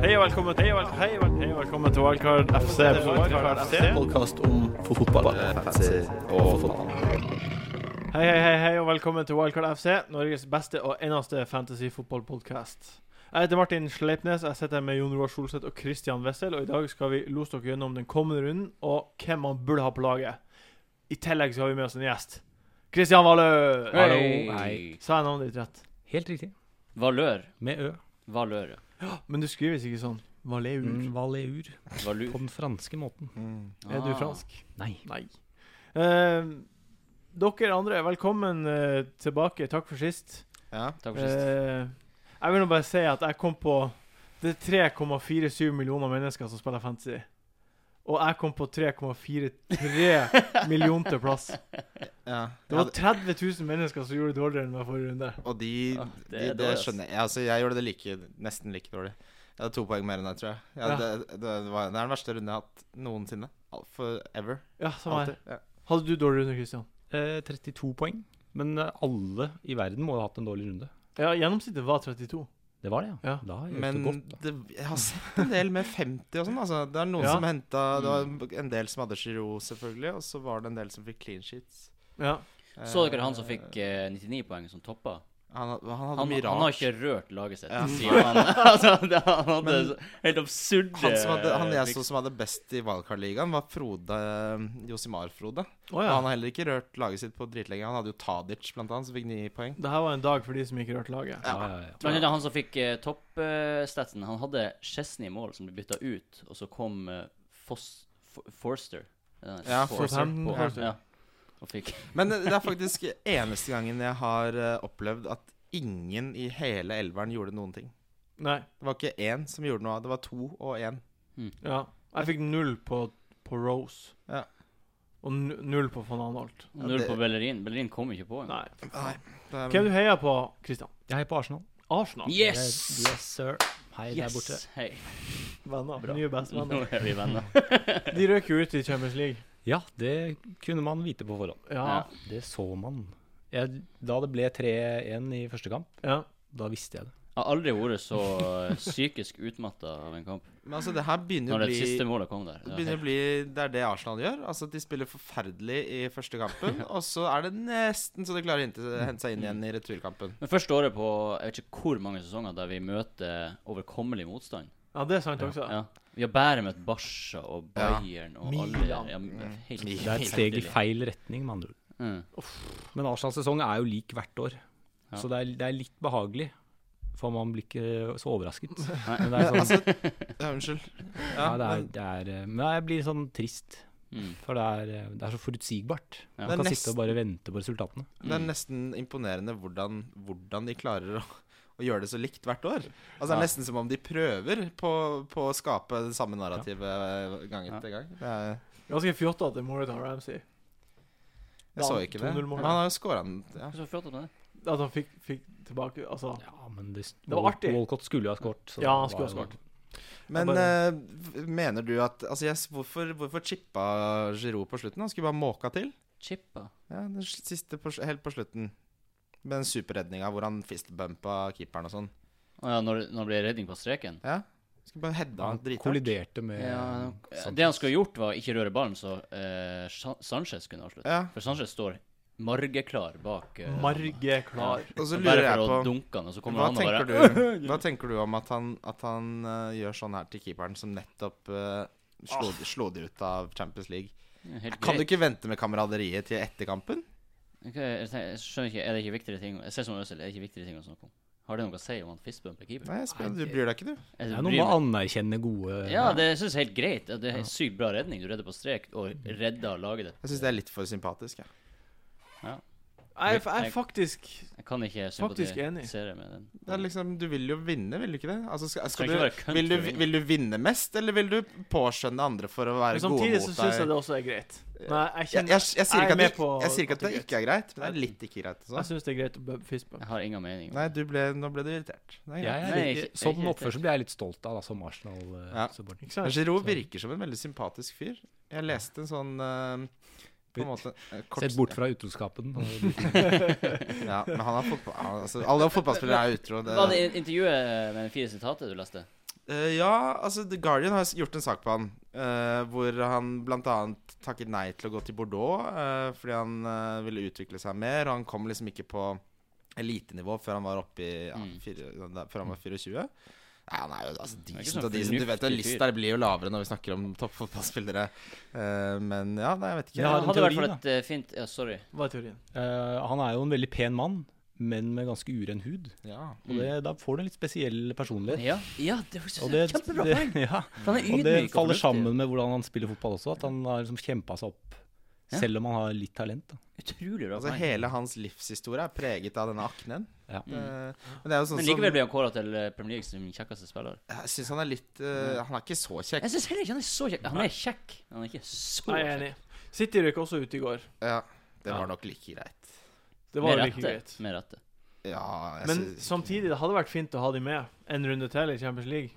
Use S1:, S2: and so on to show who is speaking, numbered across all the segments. S1: Hei og velkommen til Wildcard Hei og vel- hei og velkommen til Wildcard FC. Wildcard FC.
S2: podkast om fotball.
S1: Hei, hei, hei, hei og velkommen til Wildcard FC, Norges beste og eneste fantasy-fotballpodkast. Jeg heter Martin Sleipnes, jeg sitter her med Jon Roar Solseth og Christian Wessel, og i dag skal vi lose dere gjennom den kommende runden og hvem man burde ha på laget. I tillegg så har vi med oss en gjest. Christian Valø!
S3: Hei.
S1: Sa jeg navnet ditt rett?
S4: Helt riktig.
S3: Valør.
S4: Med ø.
S3: Valør. ja.
S1: Men du skrives ikke sånn. Valeur.
S4: Mm, Valeur.
S3: Valur.
S4: På den franske måten.
S2: Mm.
S1: Er du
S3: Ah.
S1: fransk?
S4: Nei.
S1: Nei. Eh, dere andre, velkommen eh, tilbake. Takk for sist.
S2: Ja.
S3: Takk for sist.
S1: Eh, jeg vil nå bare si at jeg kom på Det er 3,47 millioner mennesker som spiller fantasy. Og jeg kom på 3,43 millioner til plass.
S2: ja.
S1: Det var 30 000 mennesker som gjorde det dårligere enn meg forrige runde.
S2: og de,
S3: Ja, Ah, det
S2: Eh, det,
S3: er
S2: de, det
S3: dårlig, ass.
S2: skjønner jeg. Altså, jeg gjorde det like, nesten like dårlig. Jeg hadde to poeng mer enn deg, tror jeg. Ja,
S1: Ja.
S2: Det, det, det, var, det er den verste runden jeg har hatt noensinne. Al- Forever.
S1: Ja, samme her.
S2: Alltid. Ja.
S1: Hadde du dårlig runde, Christian?
S4: Eh, 32 poeng. Men eh, alle i verden må ha hatt en dårlig runde.
S1: Ja, gjennomsnittet var 32.
S4: Det var det, ja.
S1: Ja.
S4: Da har jeg
S2: Men
S4: gjort det godt.
S2: det, jeg har sett en del med 50 og sånn. Altså. Det er noen
S1: Ja.
S2: som henta Det var en del som hadde Giroud, selvfølgelig. Og så var det en del som fikk clean sheets.
S1: Ja.
S3: Så dere han som fikk eh, 99 poeng, som toppa?
S2: Han, han hadde
S3: Han,
S2: mye
S3: han
S2: rart.
S3: har ikke rørt laget sitt.
S2: Ja.
S3: sier Han, altså, det, han hadde
S2: Men-
S3: så helt absurde
S2: Han, som hadde, han
S3: eh,
S2: jeg så
S3: fiks-
S2: som hadde best i Wildcard-ligaen, var Frode Josimar-Frode.
S1: Å
S2: Og Han
S1: ja.
S2: har heller ikke rørt laget sitt på dritlenge. Han hadde jo Tadic, blant annet, som fikk ni poeng.
S1: Det her var en dag for de som ikke rørte laget.
S4: Ja, ja, ja.
S3: Blant annet han som fikk eh, toppstatsen, han hadde Chesney i mål, som ble bytta ut, og så kom eh, Foss, For- Forster. Eh,
S2: Ja,
S3: Forster
S1: Forster.
S3: på-
S1: Forster.
S3: Ja. Og fikk
S2: Men det er faktisk eneste gangen jeg har eh, opplevd at ingen i hele elveren gjorde noen ting.
S1: Nei.
S2: Det var ikke én som gjorde noe. Det var to og én.
S3: hm.
S1: Ja. Jeg fikk null på, på Rose.
S2: Ja.
S1: Og nu- null på von Anholt.
S2: Ja, det-
S3: null på Bellerin. Bellerin kom ikke på.
S1: Nei.
S2: Nei. Det
S1: Hvem
S2: er,
S1: du heier på, Christian?
S4: Jeg heier på Arsenal.
S1: Arsenal?
S3: Yes!
S4: Jeg- Yes, sir. Hei der borte.
S3: Yes! Hei.
S1: Venner.
S3: Bra.
S1: Nye
S3: Nå
S1: bestevenner.
S3: er vi venner.
S1: De røk jo ut i Champions League.
S4: Ja, det kunne man vite på forhånd.
S1: Ja.
S4: Det så man. Jeg, da det ble 3-1 i første kamp,
S1: ja.
S4: da visste jeg det.
S3: Jeg har aldri vært så eh, psykisk utmatta av en kamp.
S2: men altså, det her begynner å
S3: Når det
S2: bli
S3: siste målet kom der.
S2: det
S3: Ja,
S2: begynner å
S3: helt-
S2: bli, det er det Arsenal gjør. Altså De spiller forferdelig i første kampen, og så er det nesten så de klarer å hente, hente seg inn igjen i returkampen.
S3: Men første året på jeg vet ikke hvor mange sesonger der vi møter overkommelig motstand.
S1: ja, det er sant
S4: Ja.
S1: også.
S3: Ja. Vi har bare møtt Barca og
S2: Ja.
S3: Bayern og
S4: Milan.
S3: alle ja, men helt,
S4: Det er et steg i feil retning, med andre ord.
S3: Mm.
S4: Men Arsenals sesong er jo lik hvert år,
S3: Ja.
S4: så det er, det er litt behagelig. For man blir ikke så overrasket.
S3: Nei. Altså,
S4: Men det er sånn,
S2: Ja, unnskyld.
S4: ja,
S2: Ja,
S4: det er,
S2: men
S4: det er, eh, men jeg blir sånn trist,
S3: Mm.
S4: for det er, eh, det er så forutsigbart.
S3: Ja.
S4: Man kan
S2: Det er
S4: sitte og bare vente på resultatene.
S2: det
S3: Mm.
S2: er nesten imponerende hvordan, hvordan de klarer å, å gjøre det så likt hvert år. Altså Det er
S3: Ja.
S2: nesten som om de prøver på, på å skape det samme narrativet eh, gang etter gang. Det er,
S1: Ganske fjotta til Morita Ramsey.
S2: jeg så ikke det.
S1: 2-0-målet.
S2: Men han har jo scora den. Ja.
S3: Hva Så flott at det er.
S1: At han fikk, fikk tilbake Altså,
S4: Ja, men det,
S1: Det var artig.
S4: Walcott skulle jo ha skåret.
S1: Ja, han skulle ha skåret.
S2: Men
S1: Jeg bare-
S2: eh, mener du at altså, jeg, s- hvorfor, hvorfor chippa Giroud på slutten? Han skulle bare måka til.
S3: Chippa.
S2: Ja, den s- siste på, s- helt på slutten. Med den superredninga hvor han fistbumpa keeperen og sånn.
S3: Å ja, når, når det ble redning på streken.
S2: Ja. Skulle bare heada han
S4: Han
S2: drithardt.
S4: kolliderte med sånn-
S3: Ja,
S4: Sanchez.
S3: det han skulle gjort, var ikke røre ballen, så eh, Sa- Sanchez kunne avslutte.
S2: Ja.
S3: For Sanchez står margeklar bak. eh,
S1: Marge klar.
S2: Og så
S3: han.
S2: lurer
S3: bare
S2: jeg
S3: for å
S2: på
S3: dunke han, og så kommer
S2: Hva
S3: han og bare
S2: tenker, du, hva tenker du om at han, at han eh, gjør sånn her til keeperen som nettopp eh, slo, slo de ut av Champions League?
S3: Helt
S2: Kan
S3: greit.
S2: du ikke vente med kameraderiet til etter kampen?
S3: Ok, jeg, tenker, jeg skjønner ikke, Er det ikke viktigere ting Jeg ser som Øzil, er det ikke viktigere ting å snakke om? Har det noe å si om han fistbumper keeper?
S2: Nei, jeg spør, Du bryr deg ikke, du.
S3: Jeg
S4: Det er noe med
S3: bryr meg-
S4: å anerkjenne gode
S3: Ja, det jeg synes jeg er helt greit. Det er en sykt bra redning. Du redder på strek og redder laget ditt.
S2: Jeg syns det er litt for sympatisk. Jeg.
S1: Jeg, er f- jeg er faktisk
S3: Jeg kan ikke
S1: Faktisk enig.
S3: sympatisere med den.
S2: Det er liksom, du vil jo vinne, vil du ikke det? Altså, skal, skal
S3: Skal ikke være
S2: du,
S3: kønt
S2: vil, du,
S3: for å vinne.
S2: vil du vinne mest, eller vil du påskjønne andre for å
S1: Men
S2: være gode
S1: samtidig
S2: mot
S1: så syns jeg
S2: deg?
S1: det også er greit. Nei, jeg
S2: Jeg, jeg,
S1: kjenner
S2: jeg, sier
S1: jeg er
S2: ikke at
S1: med
S2: det,
S1: på
S2: jeg sier ikke at
S1: at det
S2: det
S1: er Altså-
S2: ikke er greit, men det er litt ikke greit.
S1: Jeg
S2: Også.
S1: syns det er greit å bump- fistbump.
S3: Jeg har ingen mening.
S2: Nei, du ble, nå ble du irritert. Det er greit.
S4: Jeg er,
S3: Nei,
S4: litt-
S3: ikke-
S4: sånn
S3: ikke-
S4: oppførsel blir jeg litt stolt av, da, som eh,
S2: Ja.
S4: Arsenal-supporter.
S1: Ikke
S2: Men
S1: sant?
S2: Giroud virker som en veldig sympatisk fyr. Jeg leste en sånn eh, På en måte eh, kort-
S4: Sett bort fra utroskapen. og-
S2: Ja, men han er fotball... han- Altså, alle fotballspillere er utro. Det,
S3: Var det intervjuet med de fire sitatet du leste?
S2: Eh, ja, altså The Guardian har s- gjort en sak på han eh, hvor han bl.a. takket nei til å gå til Bordeaux eh, fordi han eh, ville utvikle seg mer, og han kom liksom ikke på elitenivå før han var oppe i ja,
S3: Mm.
S2: fire, da, Før han var 24. Nei, han er jo altså,
S3: er ikke
S2: decent
S3: sånn
S2: og decent. Du vet at
S3: fornuftig
S2: lista blir jo lavere når vi snakker om toppfotballspillere. Eh, men ja, nei, jeg vet ikke.
S4: Ja,
S3: Han
S4: en
S3: hadde i hvert
S4: teori,
S3: fall et eh, fint Ja, sorry.
S1: Hva er teorien?
S4: Eh, han er jo en veldig pen mann, men med ganske uren hud.
S2: Ja.
S4: Og det, da får du en litt spesiell
S3: Mm.
S4: personlighet.
S3: Ja, Mm. ja det var
S4: Og det,
S3: kjempebra
S4: det,
S3: poeng!
S4: ja.
S3: For han er
S4: og det
S3: ydmyk
S4: faller
S3: fornuftig.
S4: sammen med hvordan han spiller fotball også, at han har liksom kjempa seg opp.
S3: Ja.
S4: Selv om han har litt talent. Da.
S3: Utrolig bra
S2: Altså
S3: poeng.
S2: Hele hans livshistorie er preget av denne aknen.
S4: Ja.
S2: Eh, men det er jo sånn
S3: Mm. Men likevel ble han kåra til eh, Premier League som kjekkeste spiller.
S2: som Jeg syns han er litt
S3: Mm.
S2: eh, Han er ikke så kjekk.
S3: Jeg syns heller ikke han er så kjekk. Han er kjekk, men han er ikke så
S1: Jeg er
S3: kjekk.
S1: enig. City røyk også ut i går.
S2: Ja, det
S1: Ja.
S2: var nok like greit.
S1: Det
S3: Med
S1: var like
S3: rette.
S1: greit.
S3: Med rette.
S2: Ja, jeg
S1: Men
S2: synes-
S1: samtidig, det hadde vært fint å ha de med en runde til i Champions League.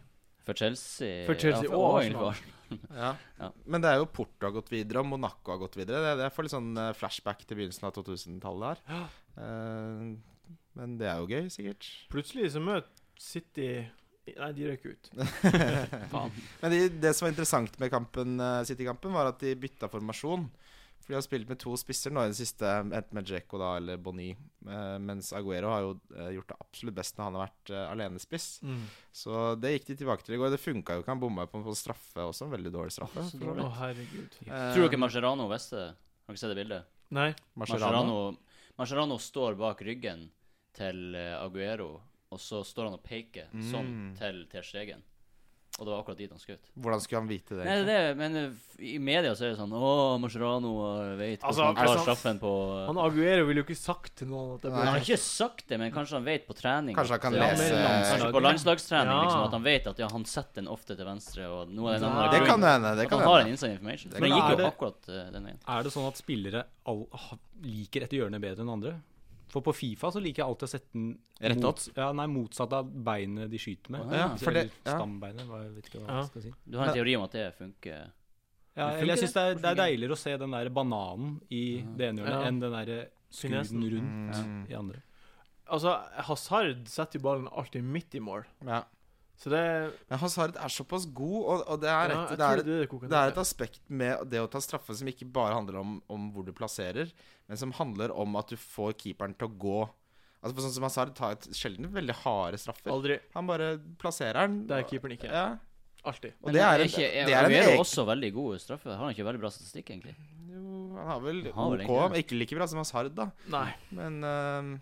S3: For Chelsea
S1: For Chelsea og
S3: ja, og egentlig for
S1: Arsenal.
S3: Arsenal.
S2: ja.
S3: Ja.
S2: Men det er jo Porto har gått videre, og Monaco har gått videre. Det, det er for litt sånn eh, flashback til begynnelsen av 2000-tallet her. Eh, men det er jo gøy, sikkert.
S1: Plutselig så møter City Nei, de røyk ut.
S2: Men det, det som var interessant med kampen, eh, City-kampen, var at de bytta formasjon. For de har spilt med to spisser nå i det siste, enten med Djeko da eller Boni. Eh, mens Aguero har jo eh, gjort det absolutt best når han har vært eh, alenespiss.
S1: Mm.
S2: Så det gikk de tilbake til i går. Det funka jo ikke. Han bomma på en sånn straffe også, en veldig dårlig straffe. Eh,
S3: Å,
S2: for
S3: så
S2: så
S1: Å,
S2: vidt.
S1: herregud.
S3: Tror dere Mascherano visste det? Har dere sett det bildet?
S1: Nei.
S2: Mascherano?
S3: Mascherano, Mascherano står bak ryggen til eh, Aguero, og så står han og peker sånn
S2: Mm.
S3: til Ter Stegen. Og det var akkurat dit han skjøt.
S2: Hvordan skulle han vite det?
S3: Nei, det, er det, men eh, f- i media så er det sånn Å, Mascherano eh, vet
S1: Altså,
S3: hvordan han
S1: altså,
S3: tar straffen på eh,
S1: Han Aguero ville jo ikke sagt til noen at det
S3: Han
S1: ble
S3: har ikke sagt det, men kanskje han vet på trening
S2: Kanskje han kan
S3: at, eh,
S2: lese-
S3: Kanskje på landslagstrening
S1: Ja.
S3: liksom, at han vet at ja, han setter den ofte til venstre. Og nå er det en annen
S1: Ja.
S2: Det
S3: grunn.
S2: kan hende. Det
S3: At
S2: kan
S3: han har en
S2: hende.
S3: inside information.
S2: Det
S3: For det
S4: kan
S3: gikk jo
S4: hende.
S3: akkurat eh, den veien.
S4: Er det sånn at spillere all, ha- liker et hjørne bedre enn andre? For på Fifa så liker jeg alltid å sette den
S2: Rett
S4: mot, ja, nei, motsatt av beinet de skyter med.
S3: Å, ja.
S4: Eller
S2: For det- ja.
S4: Stambeinet, hva, jeg vet ikke hva
S1: Ja.
S4: jeg skal si.
S3: Du har en
S2: Men-
S3: teori om at det funker.
S4: Ja,
S3: Det
S4: eller jeg
S3: funker,
S4: syns det, er-
S3: det.
S4: det er deiligere å se den der bananen i det ene hjørnet
S1: Ja.
S4: enn den derre
S1: Finesen.
S4: skuden rundt
S2: Mm.
S4: i andre.
S1: Altså, Hazard setter jo ballen alltid midt i mål.
S2: Ja.
S1: Så det
S2: Men Hazard er såpass god, og, og det er
S1: ja,
S2: rett
S1: jeg
S2: det
S1: tror
S2: er,
S1: det er det koker
S2: det er
S1: ned
S2: et
S1: til.
S2: aspekt med det å ta straffe som ikke bare handler om, om hvor du plasserer, men som handler om at du får keeperen til å gå. Altså for Sånn som Hazard tar et sjelden veldig harde straffer.
S1: Aldri.
S2: Han bare plasserer den.
S1: Der keeperen ikke er.
S2: Ja.
S1: Alltid.
S2: Og det er, en,
S3: ikke,
S2: det er en
S3: Aguero
S2: egen
S3: også veldig god straffe. Har han ikke veldig bra statistikk, egentlig?
S2: Jo, Han har vel
S3: Han har
S2: OK,
S3: vel egentlig det.
S2: men ikke like bra som Hazard, da.
S1: Nei.
S2: Men øhm,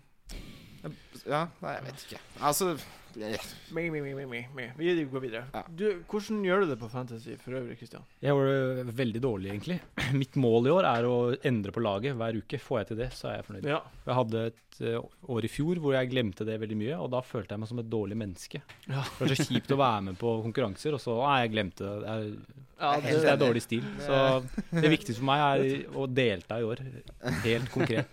S2: Ja, nei, jeg vet ikke. Altså eh,
S1: Me, me, me, me, me, me. Vi går videre.
S2: Ja.
S1: Du, hvordan gjør du det på Fantasy for øvrig, Christian?
S4: Jeg gjorde det veldig dårlig, egentlig. Mitt mål i år er å endre på laget hver uke. Får jeg til det, så er jeg fornøyd.
S1: Ja.
S4: Jeg hadde et eh, år i fjor hvor jeg glemte det veldig mye, og da følte jeg meg som et dårlig menneske.
S1: Ja.
S4: Det var så kjipt å være med på konkurranser, og så Nei, jeg glemte det. Det
S1: ja
S4: er, det
S1: det,
S4: er dårlig stil. Så det viktigste for meg er å delta i år, helt konkret.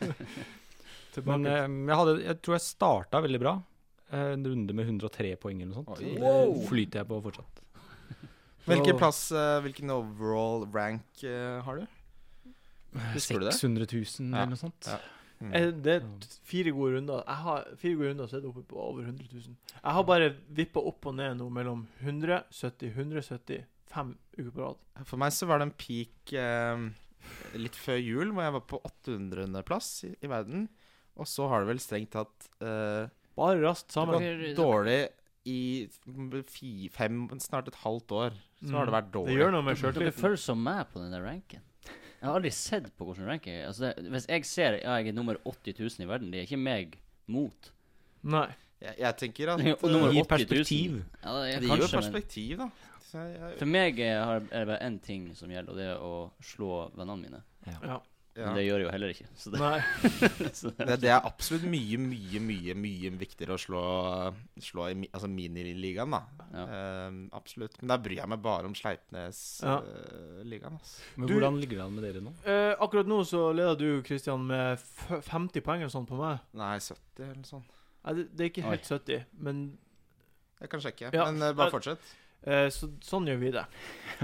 S1: tilbake.
S4: Men eh, jeg, hadde, jeg tror jeg starta veldig bra. Eh, En runde med 103 poeng eller noe sånt.
S2: Oi.
S4: Og Det flyter jeg på fortsatt.
S2: Hvilken
S4: Så-
S2: plass, eh, hvilken overall rank eh, har du? Husker du det?
S4: 600 000
S2: Ja.
S4: eller noe sånt.
S2: Ja.
S1: Eh, Det er t- fire gode runder. Jeg har fire gode runder, så er det oppe på over 100 000. Jeg har bare vippa opp og ned nå mellom 100, 70, 170, fem uker på rad.
S2: For meg så var det en peak eh, litt før jul, hvor jeg var på 800.-plass i, i verden. Og så har det vel strengt tatt eh,
S1: Bare raskt
S2: Det
S1: sammen.
S2: var dårlig i fi, fem, snart et halvt år. Så har det
S3: Mm.
S2: vært
S1: Mm. Det
S2: dårlig.
S1: gjør noe med
S3: Dere
S1: sjøltilliten.
S3: følger som meg på den der ranken. Jeg har aldri sett på hvordan ranking er. Altså, det, hvis jeg ser ja, jeg er nummer 80 000 i verden, det er ikke meg mot.
S1: Nei.
S2: Jeg, jeg tenker at
S3: Og nummer
S2: eh,
S3: 80 000.
S4: Gi perspektiv.
S3: Ja, det er
S2: Det gir jo
S3: kanskje, men
S2: perspektiv, da. Så jeg, jeg,
S3: for meg er, har- er det bare én ting som gjelder, og det er å slå vennene mine.
S1: Ja.
S2: ja.
S3: Men det gjør jeg jo heller ikke. Så det,
S1: Nei.
S3: så det,
S2: Det, det er absolutt mye, mye, mye mye viktigere å slå, slå i mi- altså miniligaen, da.
S3: Ja.
S2: Ehm, absolutt. Men der bryr jeg meg bare om eh,
S1: Ja.
S2: Sleipnes-ligaen.
S4: Men
S1: Du-
S4: hvordan ligger det an med dere nå?
S1: Eh, akkurat nå så leder du, Christian, med f 50 poeng eller sånn på meg.
S2: Nei, 70 eller noe sånt.
S1: Nei, det, det er ikke helt 70, men
S2: Jeg kan sjekke,
S1: Ja.
S2: men eh, bare fortsett.
S1: eh, så, sånn gjør vi det.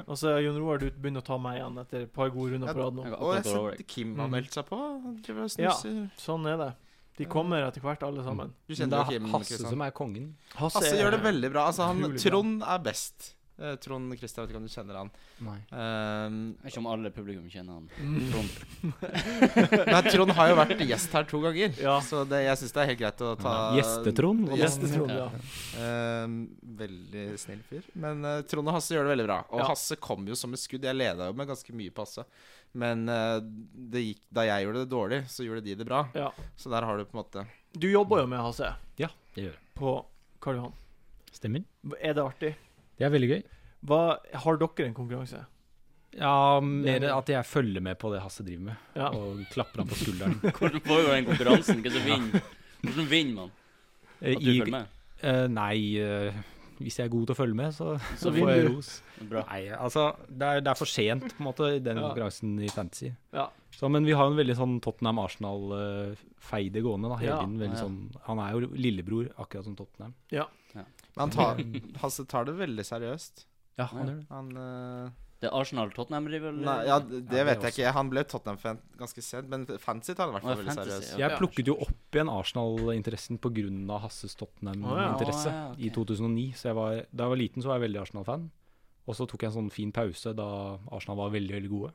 S1: Og så Jon Roar, du begynner å ta meg igjen etter et par gode runder på rad nå.
S3: Jeg går
S2: Og jeg
S3: akkurat over,
S2: sendte Kim har
S1: Mm.
S2: meldt seg på. Han driver og
S1: Ja.
S2: snuser.
S1: Sånn er det. De kommer etter hvert, alle sammen.
S2: Du
S4: Men det
S2: kjenner jo
S4: er
S2: Kim
S4: Hasse
S2: Kristian.
S4: som er kongen.
S1: Hasse,
S2: Hasse
S1: er-
S2: gjør det veldig bra. Altså, han,
S1: Utrolig bra.
S2: Trond er best. Eh, Trond Kristian, vet ikke om du kjenner han.
S4: Nei.
S2: Ehm,
S3: Jeg vet ikke om alle publikum kjenner han.
S1: Mm.
S3: Trond.
S2: nei, Trond har jo vært gjest her to ganger,
S1: Ja.
S2: så det, jeg syns det er helt greit å ta
S4: Gjestetrond. hva da?
S1: Gjestetrond, ja.
S2: Ehm, veldig snill fyr. Men eh, Trond og Hasse gjør det veldig bra. Og
S1: Ja.
S2: Hasse kom jo som et skudd. Jeg leda jo med ganske mye på Hasse. Men eh, det gikk, da jeg gjorde det dårlig, så gjorde de det bra.
S1: ja.
S2: Så der har du på en måte
S1: Du jobber jo med Hasse
S4: Det gjør jeg.
S1: på Karl Johan.
S4: Stemmer.
S1: Er det artig?
S4: Det er veldig gøy.
S1: Hva, har dere en konkurranse?
S4: Ja, mer at jeg følger med på det Hasse driver med,
S1: Ja.
S4: og klapper han på skulderen.
S3: Hvordan foregår den konkurransen? Hvem som vinner? Hvordan vinner man? At du
S4: I-
S3: følger med?
S4: eh, nei, eh, hvis jeg er god til å følge med, så,
S1: Så
S4: så
S1: vinner
S4: får jeg
S1: du.
S4: ros.
S3: Bra.
S4: Nei, altså, det er, det er for sent på en måte i den
S1: Ja.
S4: konkurransen i fantasy.
S1: Ja.
S4: Så, men vi har jo en veldig sånn Tottenham-Arsenal-feide gående da, hele
S1: Ja.
S4: tiden. Veldig
S3: Ja.
S4: sånn, han er jo lillebror, akkurat som Tottenham.
S2: Men han tar, Hasse tar det veldig seriøst.
S4: Ja,
S3: Ja.
S4: han gjør det.
S2: Han eh,
S3: Det er Arsenal-Tottenham-rival?
S2: Nei, ja, det
S4: Ja, det
S2: vet jeg
S4: også.
S2: ikke. Han ble Tottenham-fan ganske sent, men fancy tar han i hvert
S3: Å,
S2: fall veldig
S3: fantasy,
S2: seriøst.
S3: ja.
S4: Jeg plukket jo opp igjen Arsenal-interessen pga. Hasses
S3: Å,
S4: Tottenham-interesse
S3: ja. Å, ja, ok.
S4: i 2009. Så jeg var, da jeg var liten, så var jeg veldig Arsenal-fan. Og så tok jeg en sånn fin pause da Arsenal var veldig veldig gode.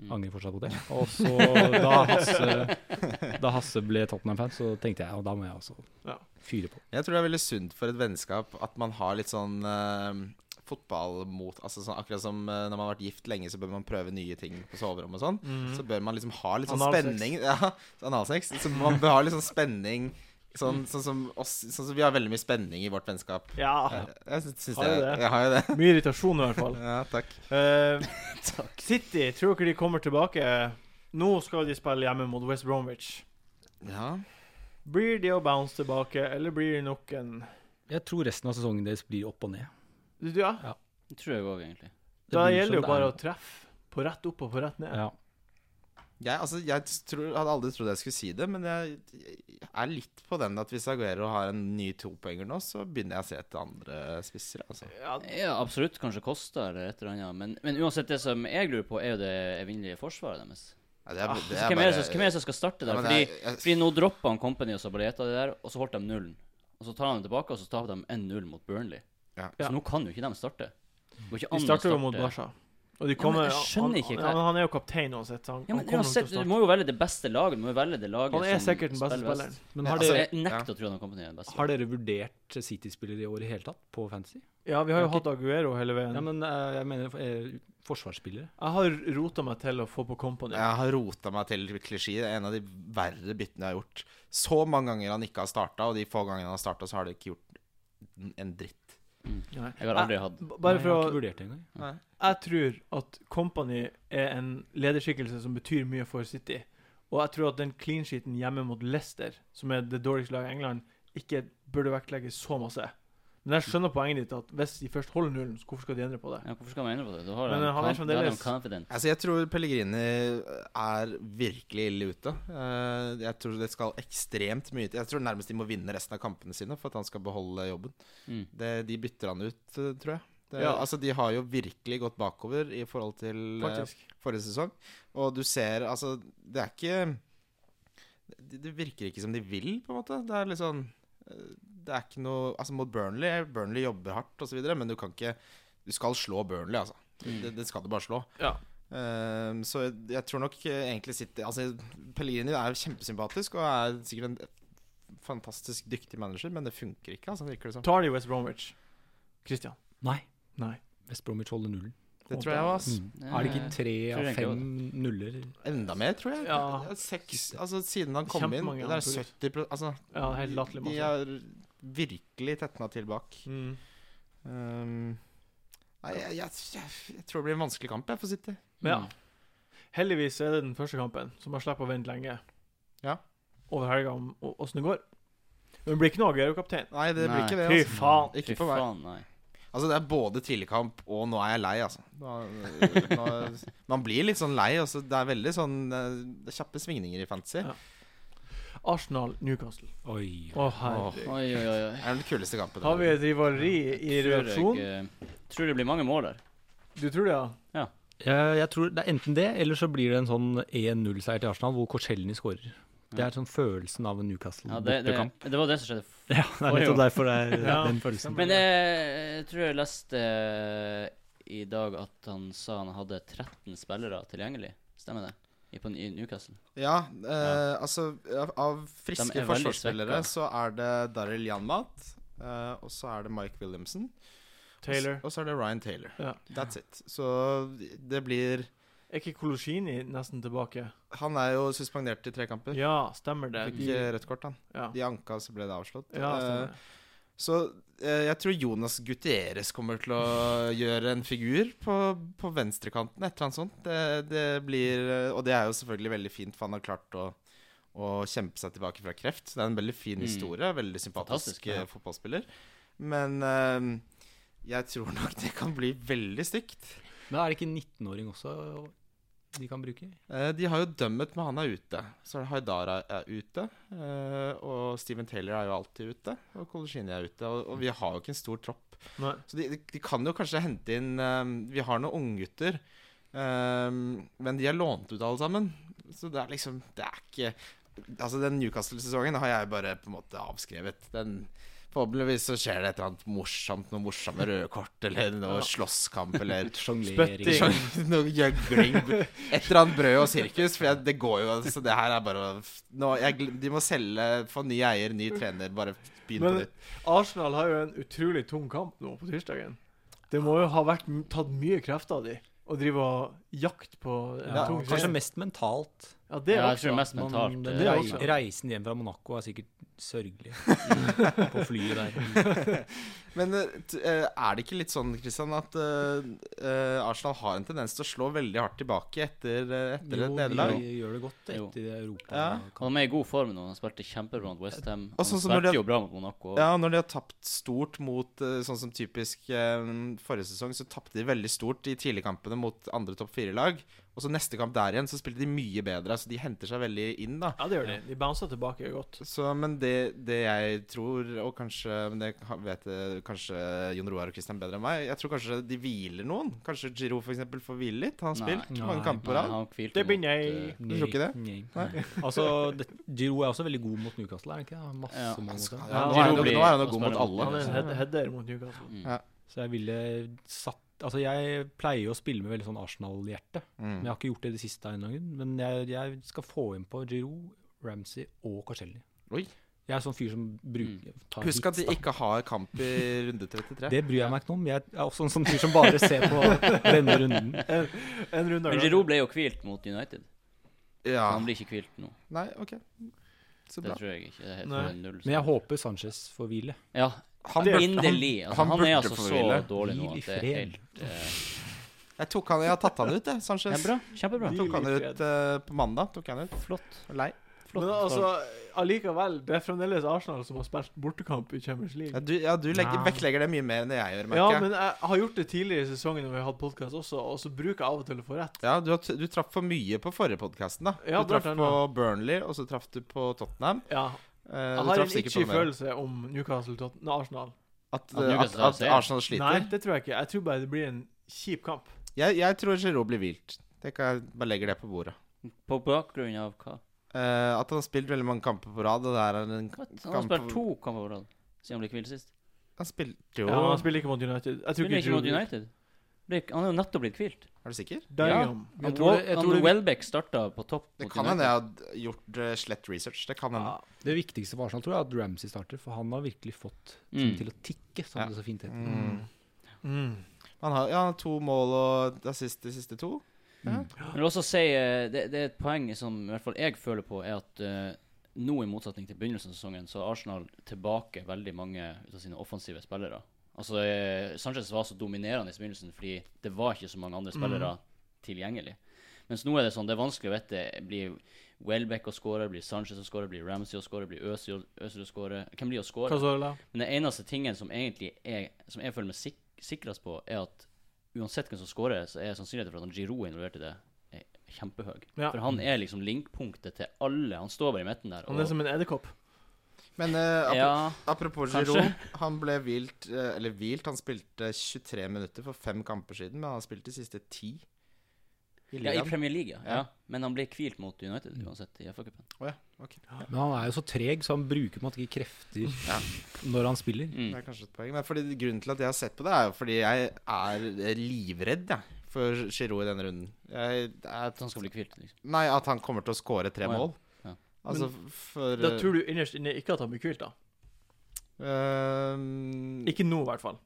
S3: Mm.
S4: Angrer fortsatt på det. Og så da Hasse, da Hasse ble Tottenham-fan, så tenkte jeg ja, da må jeg også
S1: Ja.
S4: fyre på.
S2: Jeg tror det er veldig sunt for et vennskap at man har litt sånn eh, fotball mot altså sånn, Akkurat som eh, når man har vært gift lenge, så bør man prøve nye ting på soverommet og sånn. Så bør man liksom ha litt sånn
S1: Analsex.
S2: spenning. Ja, analsex. Så man bør ha litt sånn spenning sånn, sånn som oss Sånn som vi har veldig mye spenning i vårt vennskap.
S1: Ja.
S2: Jeg, jeg syns- syns
S1: Har
S2: det.
S1: du det?
S2: Jeg har jo det.
S1: Mye irritasjon, i hvert fall.
S2: Ja, takk.
S1: Eh, City, tror dere de kommer tilbake? Nå skal de spille hjemme mot West Bromwich.
S2: Ja.
S1: Blir de å bounce tilbake, eller blir det nok en
S4: Jeg tror resten av sesongen deres blir opp og ned.
S1: Du, Ja,
S3: Det tror jeg òg, egentlig.
S4: Det
S1: da
S4: blir
S1: gjelder
S4: som
S1: jo
S4: det
S1: bare
S4: er.
S1: å treffe på rett opp og på rett ned.
S4: ja.
S2: Jeg, altså, jeg tror, hadde aldri trodd jeg skulle si det, men jeg, jeg er litt på den at hvis Aguero har en ny topoenger nå, så begynner jeg å se etter andre spisser. Altså.
S1: Ja,
S3: Ja, absolutt. Kanskje Kosta eller et eller annet. Men, men uansett, det som jeg lurer på, er jo det evinnelige forsvaret deres.
S2: Ja, det er-
S3: Ah,
S2: det
S3: så hvem, er det, som- hvem er det som skal starte der?
S2: Ja, men
S3: fordi,
S2: det er-
S3: fordi nå droppa han Company og Sabaleta det der, og så holdt de nullen. Og så tar han det tilbake, og så tar de 1-0 mot Burnley.
S2: Ja.
S1: Ja.
S3: Så nå kan jo ikke de starte. Det går ikke an
S1: De
S3: å
S1: starter jo mot
S3: starte-
S1: Barca. Og de
S3: men
S1: kommer
S3: jeg skjønner
S1: han,
S3: ikke
S1: ja,
S3: hva-
S1: men Han er jo kaptein uansett, så han,
S3: Ja,
S1: han
S3: men
S1: kommer nok til
S3: uansett,
S1: å
S3: Du
S1: starte.
S3: må jo velge det beste laget. Du må jo velge det laget
S1: Han er
S3: som
S1: sikkert den beste
S3: spiller best.
S1: spilleren.
S4: Men har
S2: Ja, altså,
S4: dere,
S3: Jeg
S2: Ja.
S3: nekter å tro at han kommer til å gjøre
S1: altså-
S3: det beste.
S4: har dere vurdert City-spillere i år i hele tatt, på fantasy?
S1: Ja, vi har jo
S4: Ok.
S1: hatt Aguero hele veien.
S4: Ja, men eh, jeg mener eh, forsvarsspillere.
S1: Jeg har rota meg til å få på Company.
S2: Jeg har rota meg til klisjé. Det er en av de verre byttene jeg har gjort. Så mange ganger han ikke har starta, og de få gangene han har starta, så har det ikke gjort en dritt.
S1: Nei.
S3: Jeg har aldri hatt
S1: B- Bare
S4: Nei, jeg har
S1: for
S4: ikke
S1: å
S4: vurdert det engang.
S1: Jeg tror at Company er en lederskikkelse som betyr mye for City. Og jeg tror at den clean sheeten hjemme mot Leicester, som er det dårligste laget i England, ikke burde vektlegges så masse. Men jeg skjønner poenget ditt, at hvis de først holder nullen, så hvorfor skal de endre på det?
S3: ja, Hvorfor skal man endre på det? Da har
S1: Men,
S3: de
S1: eh, han er
S3: conf- da har de
S1: fremdeles-
S3: confident.
S2: Altså, jeg tror Pellegrini er virkelig ille ute. Eh, Jeg tror det skal ekstremt mye til. Jeg tror nærmest de må vinne resten av kampene sine for at han skal beholde jobben.
S3: Mm.
S2: Det, de bytter han ut, eh, tror jeg. Det,
S1: Ja.
S2: Altså, De har jo virkelig gått bakover i forhold til eh,
S1: Faktisk.
S2: forrige sesong. Og du ser Altså, det er ikke Det, det virker ikke som de vil, på en måte. Det er litt sånn eh, Det er ikke noe Altså, mot Burnley Burnley jobber hardt osv., men du kan ikke Du skal slå Burnley, altså. Det, det skal du bare slå.
S1: Mm. Ja.
S2: Ehm, så jeg, jeg tror nok eh, egentlig sitter Altså, Pellegrini er kjempesympatisk og er sikkert en fantastisk dyktig manager, men det funker ikke, altså, virker det som.
S1: Tar de West Bromwich? Christian?
S4: Nei.
S1: Nei.
S4: West Bromwich holder nullen.
S2: Det tror jeg òg, ass.
S4: Er det Eh, ikke tre
S3: tror
S4: av
S3: jeg
S4: fem
S3: egentlig
S4: nuller?
S3: mm.
S2: Enda mer, tror jeg.
S1: Ja.
S2: Det er Seks, altså, siden han kom inn,
S1: Kjempemange
S2: det
S1: han
S2: er
S1: tok ut.
S2: 70 pro- Altså,
S1: Ja, helt latterlig
S2: De
S1: masse.
S2: er virkelig tetna til bak.
S1: Mm.
S2: Um, nei, jeg, jeg, jeg, jeg tror det blir en vanskelig kamp jeg for City.
S1: Men ja.
S3: Mm.
S1: Heldigvis er det den første kampen, så man slipper å vente lenge.
S2: Ja.
S1: Over helga om å- åssen det går. Men det blir ikke noe Aguero-kaptein.
S2: Nei, det blir
S3: Nei.
S2: ikke det.
S1: Fy
S2: Altså.
S1: faen.
S2: Ikke
S3: Fy
S2: på meg.
S3: faen, nei.
S2: Altså, det er både tidligkamp og nå er jeg lei, altså. Nå, nå, man blir litt sånn lei. Altså. Det er veldig sånn eh, kjappe svingninger i fantasy.
S1: Ja. Arsenal, Newcastle.
S4: Oi.
S1: Å, herregud.
S3: Oi, oi, oi. oi.
S2: Det er den kuleste kampen.
S1: Har vi et rivaleri i
S3: Tror jeg,
S1: reaksjon?
S3: eh, tror det blir mange mål der.
S1: Du tror det, ja?
S4: Jeg, jeg tror det er enten det, eller så blir det en sånn 1-0-seier til Arsenal hvor Korselny skårer. Det er sånn følelsen av en
S3: Ja, det, det,
S4: Newcastle-bortekamp.
S3: det var det som skjedde.
S4: Ja, det, er
S3: Oi, jo.
S4: nettopp derfor det er
S1: Ja.
S4: den følelsen.
S3: Men eh, jeg tror jeg leste eh, i dag at han sa han hadde 13 spillere tilgjengelig. Stemmer det? I, på, i Newcastle.
S2: Ja, eh, altså av- Av
S3: De
S2: friske
S3: er veldig
S2: forsvarsspillere
S3: svekka.
S2: så er det Daryl Janmat. eh, og så er det Mike Williamson.
S1: Taylor.
S2: Og så er det Ryan Taylor.
S1: Ja.
S2: That's it. Så det blir
S1: Er ikke Koloshini nesten tilbake?
S2: Han er jo suspendert i tre kamper.
S1: Ja, stemmer det.
S2: Fikk
S1: De,
S2: eh, rødt kort, han.
S1: ja.
S2: De anka, så ble det avslått.
S3: Uh,
S1: ja,
S2: Eh,
S1: stemmer. det.
S2: Så eh, jeg tror Jonas Gutierrez kommer til å gjøre en figur på, på venstrekanten. Et eller annet sånt. Det, det blir, eh, og det er jo selvfølgelig veldig fint, for han har klart å, å kjempe seg tilbake fra kreft. Så det er en veldig fin
S3: Mm.
S2: historie. Veldig sympatisk
S3: Fantastisk, ja.
S2: eh, fotballspiller. Men eh, jeg tror nok det kan bli veldig stygt.
S4: Men er det ikke en 19-åring også de kan bruke?
S2: Eh, de har jo dømmet med han er ute. Så er det Haidara er ute. eh, og Steven Taylor er jo alltid ute. Og Kolosjini er ute. Og, og vi har jo ikke en stor tropp.
S1: Nei.
S2: Så de, de, de kan jo kanskje hente inn ehm, Vi har noen unggutter, um, men de er lånt ut alle sammen. Så det er liksom Det er ikke Altså, den Newcastle-sesongen har jeg bare på en måte avskrevet. Den Forhåpentligvis så skjer det et eller annet morsomt, noe morsomme røde kort, eller noe slåsskamp, eller
S1: Spytting.
S4: Sjonglering.
S2: sånn, noe gjøgling. Et eller annet brød og sirkus. For jeg, det går jo Så det her er bare å nå, jeg, gl- De må selge, få ny eier, ny trener, bare begynne på
S1: Men
S2: nytt.
S1: Arsenal har jo en utrolig tung kamp nå på tirsdagen. Det må jo ha vært m- tatt mye krefter av de å drive og jakt på en
S4: Ja,
S1: tung
S4: kanskje
S1: serie.
S4: mest mentalt.
S1: Ja, det
S3: ja, jeg
S1: også.
S3: tror mest
S4: Man,
S3: mentalt.
S4: den
S1: det er
S3: eh,
S1: rei-
S4: rei-
S1: også.
S4: reisen hjem fra Monaco er sikkert sørgelig. På flyet der.
S2: Men eh, t- eh, er det ikke litt sånn, Kristian, at eh, eh, Arsenal har en tendens til å slå veldig hardt tilbake etter, eh, etter et
S4: Jo,
S2: nederlag?
S4: de gjør det godt etter Europa.
S2: Ja.
S3: Og Han er i god form nå. Han spilte kjempebra mot Westham. Han
S2: Og
S1: Altså,
S2: sånn som når
S3: spilte
S2: de-
S3: jo bra mot Monaco.
S2: Ja, når de har tapt stort mot eh, Sånn som typisk eh, forrige sesong, så tapte de veldig stort i tidligkampene mot andre topp fire-lag. Og så neste kamp der igjen, så spilte de mye bedre. Så de henter seg veldig inn, da.
S1: Ja, det gjør de. De bouncer tilbake godt.
S2: Så, men det, det jeg tror, og kanskje men det ha- vet eh, kanskje Jon Roar og Kristian bedre enn meg Jeg tror kanskje de hviler noen. Kanskje Giro for eksempel får hvile litt. Han har
S3: Nei.
S2: spilt
S4: Nei.
S2: mange kamper på
S3: Nei,
S2: rad.
S3: han hvilte
S1: Det blir
S3: mot,
S1: nei.
S3: eh,
S2: Du tror ikke det?
S4: Nei.
S2: Nei.
S4: Altså, det, Giroud er også veldig god mot Newcastle, er han ikke? Han har Masse
S3: Ja.
S4: mål
S2: Ja,
S4: mot
S1: Ja,
S4: seg.
S2: nå, er han,
S3: Giro
S2: jo- nå
S3: blir-
S2: er han jo
S3: og
S2: god mot
S3: spiller
S2: alle.
S1: Han er en
S4: Ja.
S1: head header mot Newcastle.
S3: mm.
S2: Ja.
S4: Så jeg ville satt Altså, jeg pleier jo å spille med veldig sånn Arsenal-hjerte. Men
S2: Mm.
S4: jeg har ikke gjort det i det siste. av en eller annen grunn. Men jeg, jeg skal få inn på Giroud, Ramsey og Corselli.
S2: Oi. Mm.
S4: Jeg er sånn fyr som bruker tar
S2: Husk at
S4: hits,
S2: de
S4: da.
S2: ikke har kamp i runde 33.
S4: Det bryr jeg meg ikke noe om. Jeg er også en sånn fyr som bare ser på denne runden.
S1: En runde av
S3: Men
S1: gangen.
S3: Giroud ble jo hvilt mot United.
S2: ja.
S3: Han blir ikke hvilt nå.
S2: Nei, OK. Så
S3: Det
S2: bra.
S3: tror jeg ikke. Det er helt
S1: Nei.
S3: null.
S4: Men jeg håper Sanchez får hvile.
S3: Ja,
S2: Han burde-
S3: inderlig. Altså,
S2: han
S3: han,
S2: burde
S3: er altså
S2: få
S3: så
S2: hvile.
S3: dårlig nå
S4: Hvil i
S3: at det er
S4: fred.
S3: helt eh,
S2: Jeg tok han, jeg har tatt han ut, jeg,
S3: det
S2: Sanchez.
S3: er bra. Kjempebra.
S2: Jeg tok han ut eh, på mandag. Tok jeg han ut.
S3: Flott.
S2: Lei.
S3: Flott.
S1: Men altså, allikevel, det er fremdeles Arsenal som har spilt bortekamp i Champions
S2: Ja,
S1: League.
S2: du, ja, du legger,
S4: Nei.
S2: vektlegger det mye mer enn det jeg gjør,
S1: Ja,
S2: merker jeg.
S1: men jeg har gjort det tidligere i sesongen når vi har hatt podkast også, og så bruker jeg av og til å få rett.
S2: Ja, du, har t- du traff for mye på forrige podkasten, da.
S1: Ja,
S2: du traff
S1: blant
S2: på Burnley, og så traff du på Tottenham.
S1: Ja.
S2: Eh,
S1: Jeg
S2: du
S1: har
S2: traff
S1: en
S2: sikkert
S1: itchy
S2: på noe mer.
S1: følelse om Newcastle Totten Arsenal.
S2: At,
S3: At Newcastle
S2: at,
S3: tar
S2: at
S3: seier.
S2: Arsenal
S1: Nei,
S2: sliter.
S1: det tror jeg ikke. Jeg tror bare det blir en kjip kamp.
S2: Jeg, jeg tror Giroud blir hvilt. Det kan jeg bare legger det på bordet.
S3: På bakgrunn av hva?
S2: Eh, at han har spilt veldig mange kamper på rad, og det her er en
S3: What? Han har
S2: Kamp-
S3: spilt to kamper på rad siden han ble hvilt sist.
S2: Han spilte jo
S1: Ja, han spiller ikke mot United. Jeg tror
S3: Spiller
S1: ikke
S3: ikke mot
S1: Giroud-
S3: United. Ble, ikke- han er jo nettopp blitt hvilt.
S2: Er du sikker?
S1: Bellingham.
S4: Men
S3: Han,
S4: jeg tror det- jeg tror
S3: han
S4: det-
S3: Welbeck starta på topp
S2: Det
S3: mot
S2: kan hende jeg
S3: United.
S2: har gjort eh, slett research. Det kan hende.
S1: Ja.
S4: Det viktigste for Arsenal tror jeg er at Ramsey starter, for han har virkelig fått ting
S3: Mm.
S4: til å tikke, som
S2: Ja.
S4: det så fint heter.
S2: Mm.
S1: Mm.
S2: Han har ja, to mål og assist de siste to.
S1: Mm.
S2: Ja.
S3: Jeg vil også si eh, det, det er et poeng som i hvert fall jeg føler på, er at eh, nå i motsetning til begynnelsen av sesongen, så har Arsenal tilbake veldig mange ut av sine offensive spillere. Altså, eh, Sanchez var så dominerende i begynnelsen fordi det var ikke så mange andre spillere tilgjengelig. Mens nå er det sånn, det er vanskelig å vite. Blir Welbeck å skåre? Blir Sanchez å skåre? Blir Ramsey å skåre? Blir Øzil Øzil å skåre? Hvem blir å skåre?
S1: Cazorla.
S3: Men den eneste tingen som egentlig er, som jeg føler meg sik sikrest på, er at uansett hvem som scorer, så er sannsynligheten for at han Giroud er involvert i det, er kjempehøy.
S1: Ja.
S3: For han er liksom linkpunktet til alle. Han står bare i midten der.
S1: Han er som en edderkopp.
S2: Men eh, apro-
S3: ja,
S2: apropos
S3: kanskje.
S2: Giroud. Han ble hvilt eh, Eller hvilt, han spilte 23 minutter for fem kamper siden, men han har spilt de siste ti. I
S3: Ja, I
S2: ligaen?
S3: Premier League, ja.
S2: Ja.
S3: ja. Men han ble hvilt mot United uansett i FA-cupen.
S2: Å ja. Ok.
S4: Men han er jo så treg, så han bruker på en måte ikke krefter når han
S3: Mm.
S4: spiller.
S2: Det er kanskje et poeng. Men fordi grunnen til at jeg har sett på det, er jo fordi jeg er livredd jeg, for Giroud i denne runden. Jeg, jeg,
S3: At han skal bli hvilt, liksom.
S2: nei, at han kommer til å skåre tre
S3: Å ja.
S2: mål.
S3: Ja.
S2: Altså for
S1: Da tror du innerst inne ikke at han blir hvilt, da.
S2: Øhm,
S1: Ikke nå, i hvert fall.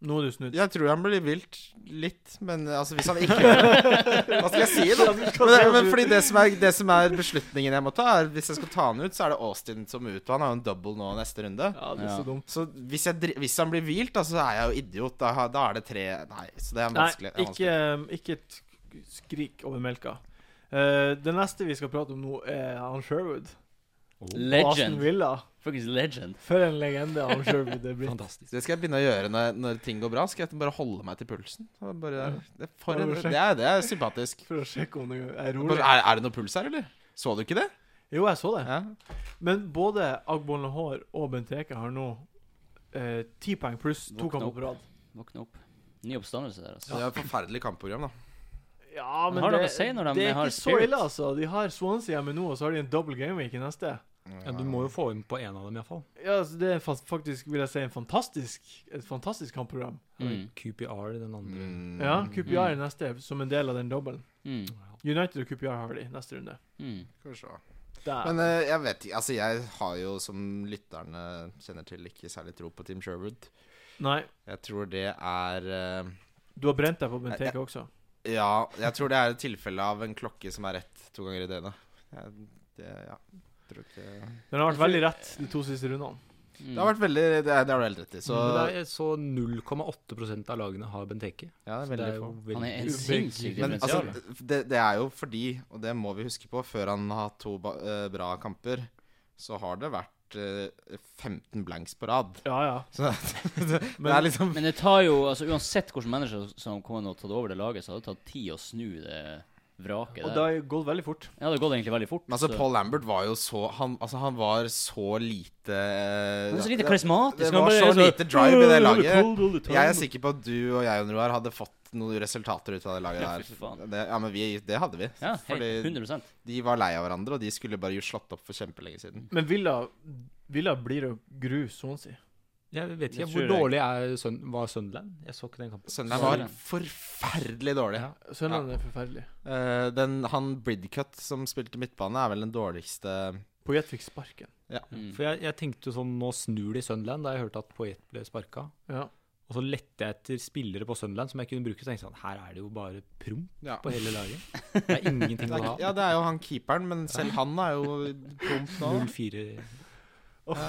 S1: Nå er du snudd.
S2: eh, Jeg tror han blir vilt litt, men altså hvis han ikke Hva skal jeg si, da? Men, det- men fordi det som, er, det som er beslutningen jeg må ta, er hvis jeg skal ta han ut, så er det Austin som må ut. og Han har jo en double nå neste runde.
S1: Ja, det er så
S3: Ja.
S1: dumt.
S2: Så hvis, jeg, dri- hvis han blir hvilt, da, så er jeg jo idiot. Da, har- da er det tre Nei, så det er
S1: Nei,
S2: vanskelig. det er
S1: ikke, ikke et skrik over melka. Eh, det neste vi skal prate om nå, er han Sherwood.
S2: Oh,
S1: Og Aston
S3: Legend.
S1: Villa.
S3: Fuckings legend.
S1: For en legende han Sherwood er blitt.
S4: Fantastisk.
S2: Det skal jeg begynne å gjøre når, når ting går bra. Skal jeg bare holde meg til pulsen. Og Bare, det, er for
S1: Ja,
S2: en,
S1: bare sjekk.
S2: det, er, det er sympatisk.
S1: For å sjekke om det er
S2: Bare,
S1: rolig.
S2: er, er det noe puls her, eller? Så du ikke det?
S1: Jo, jeg så det.
S2: Ja.
S1: Men både Agbon Lahore og Benteke har nå eh, ti poeng pluss to
S3: Våkna
S1: kamper
S3: opp.
S1: på rad.
S3: Våkne opp. Ny oppstandelse der, altså.
S2: Det er et forferdelig kampprogram, da.
S1: Ja, men
S3: har
S1: det,
S3: noe å si når de
S1: det er
S3: har
S1: ikke så
S3: spirit.
S1: ille, altså. De har Swansea hjemme nå, og så har de en double gameweek i neste.
S4: Ja, du må jo få inn på en av dem, iallfall.
S1: Ja, altså, Det er fa- faktisk, vil jeg si, en fantastisk, et fantastisk kampprogram.
S3: Mm.
S4: QPR i den andre.
S2: Mm.
S1: Ja, QPR er neste, som en del av den dobbelen.
S3: Mm.
S1: United og QPR har de neste runde.
S3: Mm.
S2: Skal vi se.
S1: Der.
S2: Men eh, jeg vet ikke Altså, jeg har jo, som lytterne kjenner til, ikke særlig tro på Team Sherwood.
S1: Nei,
S2: Jeg tror det er eh,
S1: du har brent deg på Benteke også.
S2: Ja, jeg tror det er et tilfelle av en klokke som er rett to ganger i døgnet. Jeg, det, ja. Tror ikke Det
S1: Den har vært veldig rett de to siste rundene.
S3: Mm.
S2: har vært veldig Det, er- det har du helt rett i. Så
S4: Men Mm, det er så 0,8 av lagene har Benteke.
S2: ja, det er
S4: Det
S2: veldig
S4: er jo
S2: få.
S3: Han er
S4: veldig
S3: en sinnssyk
S2: Men
S3: differensial.
S2: altså, det, det er jo fordi, og det må vi huske på, før han har hatt to ba eh, bra kamper, så har det vært eh, 15 blanks på rad.
S1: Ja, ja.
S2: Så det, det
S1: Men-
S2: er liksom
S3: Men det tar jo altså Uansett hvilken manager som kommer og tatt over det laget, så hadde det tatt tid å snu det vraket
S1: Og
S3: der.
S1: det har gått veldig fort.
S3: Ja, det hadde gått egentlig veldig fort.
S2: Men altså,
S3: så-
S2: Paul Lambert var jo så Han, altså, han var så lite eh,
S3: Han er så lite
S2: det-
S3: karismatisk.
S2: Det
S3: han
S2: var
S3: bare
S2: så
S3: er
S2: lite drive i det laget.
S1: Cold all the time.
S2: Jeg er sikker på at du og jeg Jon Roar hadde fått noen resultater ut av det laget
S3: Ja,
S2: der.
S3: fy faen.
S2: Det, ja, men vi, det hadde vi.
S3: Ja, helt,
S2: Fordi
S3: 100
S2: de var lei av hverandre, og de skulle bare jo slått opp for kjempelenge siden.
S1: Men Villa, Villa blir å grus, sånn å si.
S4: Jeg vet
S3: Det
S4: ikke hvor
S3: tror jeg.
S4: dårlig er Sun var Sunderland. Jeg så ikke den kampen.
S2: Søndag var
S3: Sunderland.
S2: forferdelig dårlig.
S4: Ja.
S1: Søndagen er forferdelig.
S2: Eh, den, han Bridcut som spilte midtbane, er vel den dårligste
S1: Poyet fikk sparken.
S3: Mm.
S4: For jeg, jeg tenkte jo sånn Nå snur de Sunderland, da jeg hørte at Poet ble sparka.
S1: Ja.
S4: Og så lette jeg etter spillere på Sunderland som jeg kunne bruke. Så tenkte jeg sånn Her er det jo bare promp
S2: Ja.
S4: på hele laget. Det er ingenting
S2: Det
S4: å
S2: er,
S4: ha.
S2: ja, det er jo han keeperen, men selv han er jo promp nå.
S4: 0-4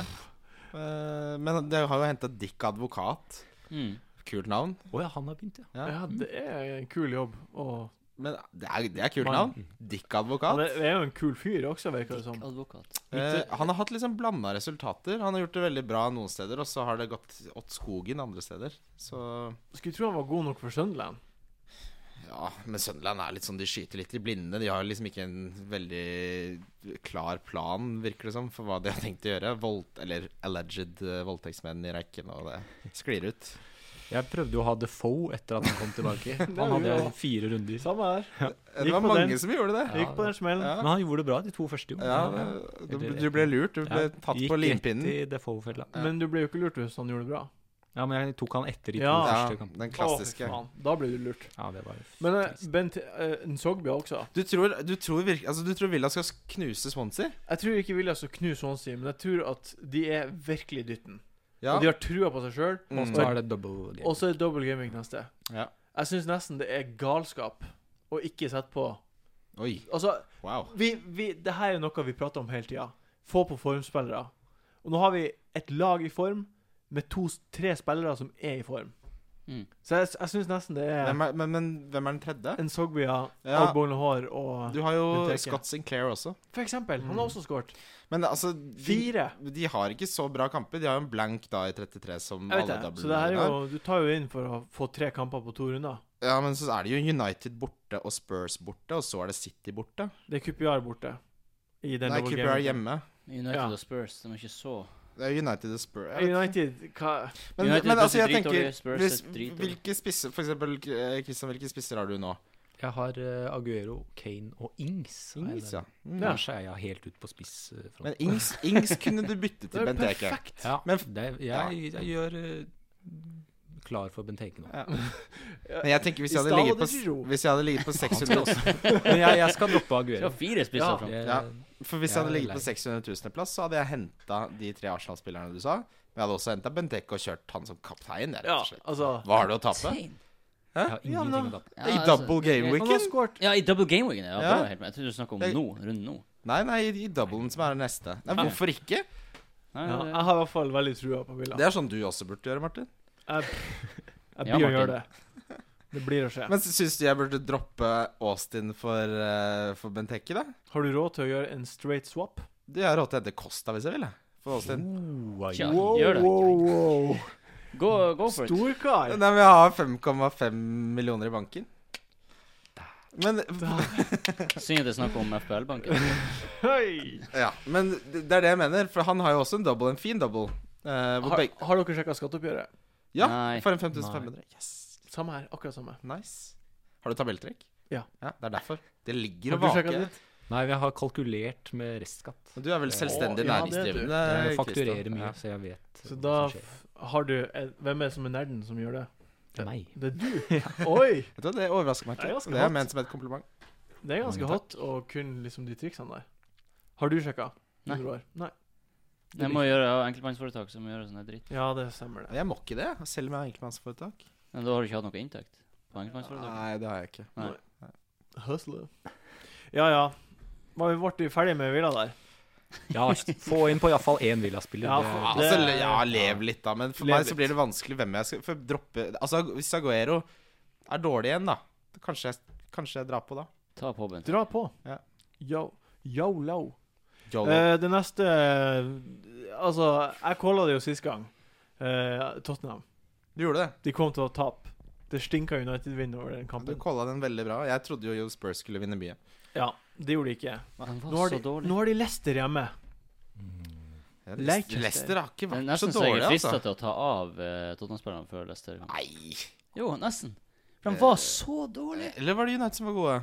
S2: Eh, men det har jo henta Dick Advokat.
S3: Mm.
S2: Kult navn.
S4: Å ja, han har begynt, ja.
S2: Ja.
S1: ja, det er en kul jobb. Og
S2: Men det er, det er kult navn. Dick
S1: han
S2: Advokat.
S1: er, er jo en kul fyr også, virker det som.
S3: Advokat.
S2: Eh, han har hatt liksom blanda resultater. Han har gjort det veldig bra noen steder, og så har det gått åt skogen andre steder. Så
S1: Skulle tro han var god nok for Sunderland.
S2: ja, men Sunderland er litt sånn de skyter litt i blinde. De har liksom ikke en veldig klar plan, virker det som, for hva de har tenkt å gjøre. Voldt, eller alleged eh, voldtektsmenn i rekken, og det sklir ut.
S4: Jeg prøvde jo å ha Defoe etter at han kom tilbake.
S1: er
S4: Han
S1: jo
S4: hadde
S1: bra.
S4: fire runder.
S1: Samme her.
S2: Det var
S1: på
S2: mange
S1: den.
S2: som gjorde det.
S1: Gikk på den smellen.
S2: Ja.
S4: Men han gjorde det bra de to første, jo.
S2: Ja, du, du ble lurt. Du ble
S4: Ja,
S2: tatt
S4: gikk
S2: på
S4: Rett
S2: limpinnen.
S4: i Defoe-fella.
S2: Ja.
S1: Men du ble jo ikke lurt hvis han gjorde det bra.
S4: Ja, men jeg tok han etter de to
S1: Ja.
S2: Ja,
S4: første kampene.
S1: Å,
S2: den klassiske.
S1: fy faen. Da ble du lurt.
S4: Ja, det var
S1: Men eh,
S4: trist.
S1: Bent eh, Nsogbia også.
S2: Du tror, du, tror virke, altså, du tror Villa skal knuse Swansea?
S1: Jeg tror ikke Villa skal knuse Swansea, men jeg tror at de er virkelig i dytten.
S2: Ja.
S1: Og de har trua på seg sjøl.
S2: Mm.
S4: Så er det double
S1: Og
S4: game.
S1: så er det double gaming neste.
S2: Ja.
S1: Jeg syns nesten det er galskap å ikke sette på
S2: Oi,
S1: Altså,
S2: wow.
S1: vi, vi, det her er noe vi prater om hele tida. Få på formspillere. Og nå har vi et lag i form med to-tre spillere som er i form.
S3: Mm.
S1: Så jeg, jeg syns nesten det er
S2: Hvem er, men, men hvem er den tredje?
S1: en Sogbia,
S2: Ja.
S1: Agbon Lahore og
S2: Du Mm. har
S1: Den
S2: jo
S1: tenker jeg.
S2: Scott Sinclair også.
S1: For eksempel. Han har også skåret.
S2: Men altså de,
S1: Fire.
S2: de har ikke så bra kamper. De har jo en blank da i 33 som
S1: Jeg
S2: alle
S1: vet det.
S2: double
S1: Så det her er
S2: har.
S1: jo, du tar jo inn for å få tre kamper på to runder.
S2: Ja, men så er det jo United borte og Spurs borte, og så er det City borte.
S1: Det er QPR borte. I den
S2: Nei,
S1: double
S2: Cooper er
S1: gamingen.
S2: hjemme.
S3: United
S1: Ja.
S3: og Spurs, de er ikke så
S2: Det er United og Spurs. Jeg vet ikke.
S1: United, hva
S2: Men,
S3: United
S2: men
S3: er
S2: altså, jeg
S3: dritdårlige,
S2: tenker
S3: Spurs er
S2: hvis,
S3: dritdårlige.
S2: Hvilke spisser For eksempel, eh, Christian, hvilke spisser har du nå?
S4: Jeg har eh, Aguero, Kane og Ings. har jeg
S2: Ings,
S4: der.
S2: ja. Mm.
S4: Der skjærer jeg helt ut på eh, spissfronten.
S2: Men Ings, Ings kunne du bytte
S1: Det
S2: til,
S1: er
S2: Bent Eke.
S1: perfekt.
S4: Ja,
S2: Men
S4: men
S2: f-
S4: det, jeg, jeg gjør eh, klar for Benteke nå.
S2: Ja. Men jeg tenker hvis jeg
S1: I
S2: hadde
S1: stad
S2: ligget på,
S1: hadde du ro.
S2: hvis jeg hadde ligget på 600
S4: Men jeg, jeg skal droppe
S3: Du har
S4: Aguero.
S3: fire spisser
S1: Ja.
S3: fram.
S4: Jeg,
S2: Ja. For hvis jeg
S4: Jeg
S2: hadde
S4: er
S2: ligget på
S4: lei.
S2: 600 000 plass, så hadde jeg henta de tre Arsenal-spillerne du sa. Men jeg hadde også henta Benteke og kjørt han som kaptein. det er
S1: Ja,
S2: rett og slett.
S1: altså
S2: Hva har du å tape? Hæ?
S4: jeg har
S1: Ja, men
S4: ingenting å tape.
S3: Ja,
S2: I
S3: altså,
S2: double game
S3: greit.
S1: Han har
S2: weekend?
S1: skåret
S3: Ja, i double game weekend. Ja, det
S2: Ja.
S3: var helt med. Jeg trodde du snakket om
S2: Jeg-
S3: nå. Rundt nå.
S2: Nei, nei, i doublen som er det neste. Nei,
S3: Ja.
S2: Hvorfor ikke?
S3: Nei,
S1: ja,
S3: det-
S1: Jeg har i hvert fall veldig trua på Villa.
S2: Det er sånn du også burde gjøre, Martin.
S1: Jeg, jeg
S3: Ja,
S1: blir å
S3: Martin.
S1: gjøre det. Det blir å skje.
S2: Men syns du jeg burde droppe Austin for, eh, for Benteke, da?
S1: Har du råd til å gjøre en straight swap?
S2: Det har jeg råd til å hente Costa hvis jeg vil, jeg, for Austin.
S4: Oh, ai,
S3: Ja,
S4: ai.
S3: Wow, gjør det.
S1: wow, wow.
S3: Gå, gå for it.
S1: Storkar!
S2: Nei, men jeg har 5,5 millioner i banken. Men,
S3: Synd at det er snakk om FPL-banken.
S1: Hei!
S2: ja, men det det er det jeg mener, for han har jo også en double, en fin double. eh, hvor
S1: Har,
S2: begge-
S1: har dere sjekka skatteoppgjøret?
S2: ja,
S3: Nei.
S2: for en 5500. Yes,
S1: Samme her. Akkurat samme.
S2: nice. Har du tabelltrekk?
S1: Ja.
S2: Det er derfor. Det
S1: Har
S2: ligger og
S1: du sjekket
S2: vaker.
S1: ditt?
S4: Nei, jeg har kalkulert med restskatt.
S2: Du er vel
S1: Å, ja,
S2: selvstendig
S1: det er du.
S2: næringsdrivende?
S4: Jeg
S2: Christian.
S4: fakturerer mye,
S2: Ja.
S4: så jeg vet
S1: Så
S4: hva
S1: da
S4: som skjer.
S1: f- har du en, Hvem er det som er nerden som gjør det?
S4: Det er meg.
S1: Det er du. Oi!
S2: Vet du, hva, det overrasker meg
S1: Det er
S2: ikke.
S1: ganske
S2: Det er
S1: hot.
S2: ment som et kompliment.
S1: Det er ganske
S4: Mange
S1: hot å kunne liksom de triksene der. Har du sjekka?
S3: Nei.
S1: Nei. Nei.
S3: Jeg må gjøre ja, enkeltmannsforetak som gjør sånn her dritt.
S1: Ja, det stemmer det.
S2: Jeg må ikke det, selv om jeg har enkeltmannsforetak.
S3: Men da har du ikke hatt noe inntekt på enkeltmannsforetak.
S2: Nei, det har jeg ikke.
S1: Hustler. Ja, ja. Var vi ble ferdig med Villa der?
S4: Ja, få inn på iallfall én Villa-spiller.
S1: Ja,
S4: det-
S1: for-
S2: Ja,
S1: Det-
S2: altså, le- ja, lev litt, da. Men for
S1: Lev
S2: meg
S1: litt.
S2: så blir det vanskelig hvem jeg skal for droppe Altså, hvis Aguero er dårlig igjen, da Kanskje jeg, kanskje jeg drar på, da.
S3: Ta på Bent.
S1: Dra på.
S2: Ja.
S1: Yo. Yo, low.
S2: Jolo.
S1: Eh, det neste Altså, jeg calla det jo sist gang. Eh, Tottenham.
S2: du gjorde det.
S1: De kom til å tape. Det stinka United-vinn over den
S2: Du
S1: kampen.
S2: calla den veldig bra. Jeg trodde jo Joe Spurs skulle vinne mye.
S1: Ja, det gjorde de ikke.
S3: Han
S1: Nå
S3: var
S1: har
S3: så
S1: de,
S3: dårlig.
S1: nå har de Leicester hjemme.
S2: Ja,
S1: Leicester.
S2: Leicester Leicester har ikke
S3: Det er
S2: vært så
S3: nesten så jeg
S2: dårlig,
S3: er frista
S2: altså.
S3: til å ta av eh, Tottenham-spillerne før Leicester. kom.
S2: Nei.
S3: Jo, nesten. For
S2: Eh,
S3: han var så dårlig.
S2: Eller var det United som var gode?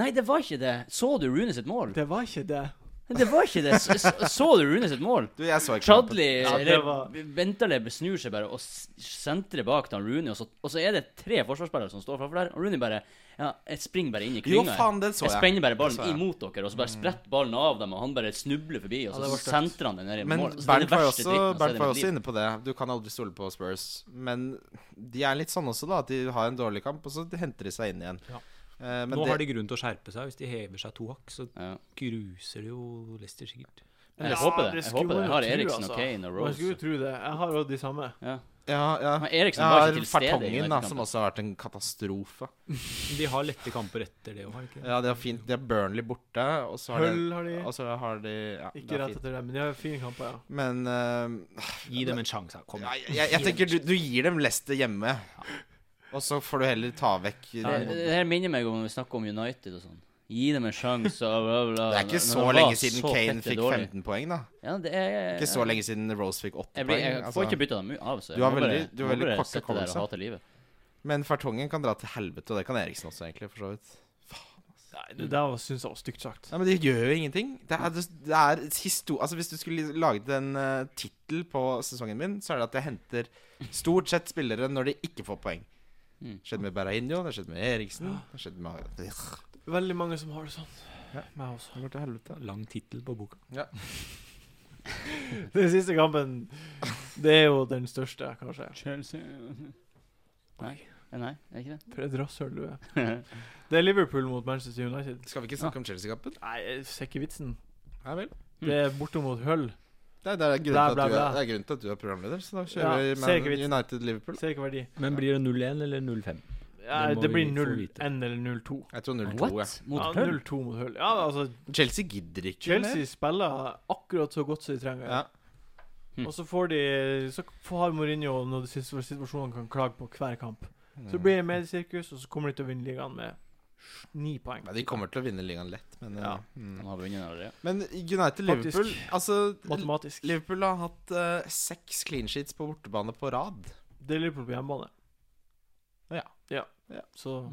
S3: Nei, det var ikke det. Så du Rooney sitt mål?
S1: Det var ikke det.
S3: Det var ikke det. Så, så- så du Rooney sitt mål?
S2: Du, jeg så ikke kampen.
S3: Chadli
S1: Ja, det var-
S3: eller Bentaleb snur seg bare og s- sentrer bak til han Rooney, og så, og så er det tre forsvarsspillere som står framfor der, og Rooney bare ja, jeg springer bare inn i
S2: Jo,
S3: klynga. her.
S2: faen, den så
S3: Jeg
S2: jeg.
S3: spenner bare ballen
S2: Det så jeg.
S3: imot dere, og så bare spretter ballen av dem, og han bare snubler forbi, og
S1: Ja, det
S3: så
S1: var støkt.
S3: sentrer han den ned i
S2: Men
S3: mål. Så det er det
S2: Bernt var jo
S3: verste
S2: også,
S3: dritten jeg har sett i
S2: Bernt var jo
S3: mitt liv.
S2: også inne på det. Du kan aldri stole på Spurs. Men de er litt sånn også, da. At de har en dårlig kamp, og så henter de seg inn igjen.
S1: Ja.
S2: Eh, men
S4: Nå har
S2: det,
S4: de grunn til å skjerpe seg. Hvis de hever seg to hakk, så
S3: Ja.
S4: gruser de jo Leicester sikkert.
S3: Jeg
S1: Ja,
S3: håper det.
S1: det
S3: Jeg
S1: skulle man
S3: håper det. Jeg
S1: jo
S3: har
S1: tro,
S3: Eriksen
S1: altså.
S3: og Kane og
S1: Man skulle jo
S3: Rose.
S1: tro det. Jeg har jo de samme.
S3: Ja.
S2: ja, ja.
S3: Men Eriksen
S2: Jeg
S3: var
S2: har
S3: ikke til stede. i
S2: Fartongen, da, som
S3: United-kampen.
S2: også har vært en katastrofe.
S4: De har lette kamper etter det òg, har de ikke? det?
S2: Ja, de har fint De har Burnley borte, og så har de
S1: Hull har de.
S3: altså,
S2: Og så har de ja, det
S1: Ikke
S2: er
S1: rett
S2: fint.
S1: etter det, men de har fine kamper, ja.
S2: Men eh,
S4: Gi dem en sjanse. da. Kom
S2: ja,
S4: igjen.
S2: jeg, jeg, jeg tenker du, du gir dem Leicester hjemme, og så får du heller ta vekk
S3: Det, det det her minner meg om når vi snakker om United og sånn. Gi dem en sjanse og bla, bla, bla.
S2: Det er ikke
S3: Når-
S2: så
S3: når det var
S2: lenge siden
S3: så
S2: Kane
S3: fette
S2: fikk
S3: dårlig.
S2: 15 poeng, da.
S3: Ja, det er
S2: Ikke så lenge siden Rose fikk 8
S3: Jeg, blir, jeg
S2: poeng.
S3: får
S2: altså.
S3: ikke bytta dem av. Så jeg
S2: Du har
S3: må
S2: veldig- du har
S3: må
S2: veldig
S3: bare
S2: kort
S3: sitte der og
S2: hukommelse.
S3: hate livet.
S2: Men Fartongen kan dra til helvete, og det kan Eriksen også, egentlig. for så vidt
S1: Nei, det der syns jeg var stygt sagt.
S2: Nei, Men de gjør jo ingenting. Det er, det er histo Altså Hvis du skulle laget en uh, tittel på sesongen min, så er det at jeg henter stort sett spillere når de ikke får poeng.
S3: Mm.
S2: Det skjedde med Berrainho, det skjedde med Eriksen Det skjedde med Det
S1: Veldig mange som har det sånn.
S2: Ja.
S1: Meg også.
S2: går til helvete.
S4: Lang tittel på boka.
S1: Den siste kampen, det er jo den største, kanskje.
S3: Nei. Nei, er det ikke
S1: For et rasshøl du er.
S3: det?
S1: Det er Liverpool mot Manchester United.
S2: Skal vi ikke snakke om Chelsea-kampen?
S1: Nei, jeg ser ikke vitsen.
S2: Nei vel.
S1: Det
S4: Mm.
S1: er bortom mot Hull.
S2: Det er, det, er grunnen
S1: Bla,
S2: til
S1: bla,
S2: at du er,
S1: bla.
S2: det er grunnen til at du er programleder, så da
S1: Ja,
S2: kjører
S1: ser ikke
S2: vi
S1: vitsen.
S2: Man United-Liverpool.
S1: Ser ikke verdi.
S4: Men blir det 0-1 eller 0-5?
S1: Ja,
S4: Det må
S1: det
S4: vi
S1: blir
S4: få
S1: 0-1
S4: vite.
S1: eller 0-2.
S2: Jeg tror 0-2. Ja.
S3: What? Mot
S1: Ja,
S3: Hull?
S1: 0-2 mot Hull. Ja, altså,
S2: Chelsea gidder ikke
S1: Chelsea spiller akkurat så godt som de
S2: mer.
S1: trenger.
S2: Ja.
S4: Hm.
S3: Mm.
S1: Og så får de Så får- har Mourinho noen situ- situasjoner han kan klage på hver kamp. Så blir det mediesirkus, og så kommer de til å vinne ligaen med ni poeng.
S2: Nei, De kommer til å vinne ligaen lett, men
S1: Ja.
S2: eh, mm.
S3: Han har vunnet allerede.
S2: Men United-Liverpool Altså,
S1: Matematisk.
S2: Liverpool har hatt eh, seks clean sheets på bortebane på rad.
S1: Det er Liverpool på hjemmebane.
S2: Ja.
S1: ja.
S2: Ja.
S1: Så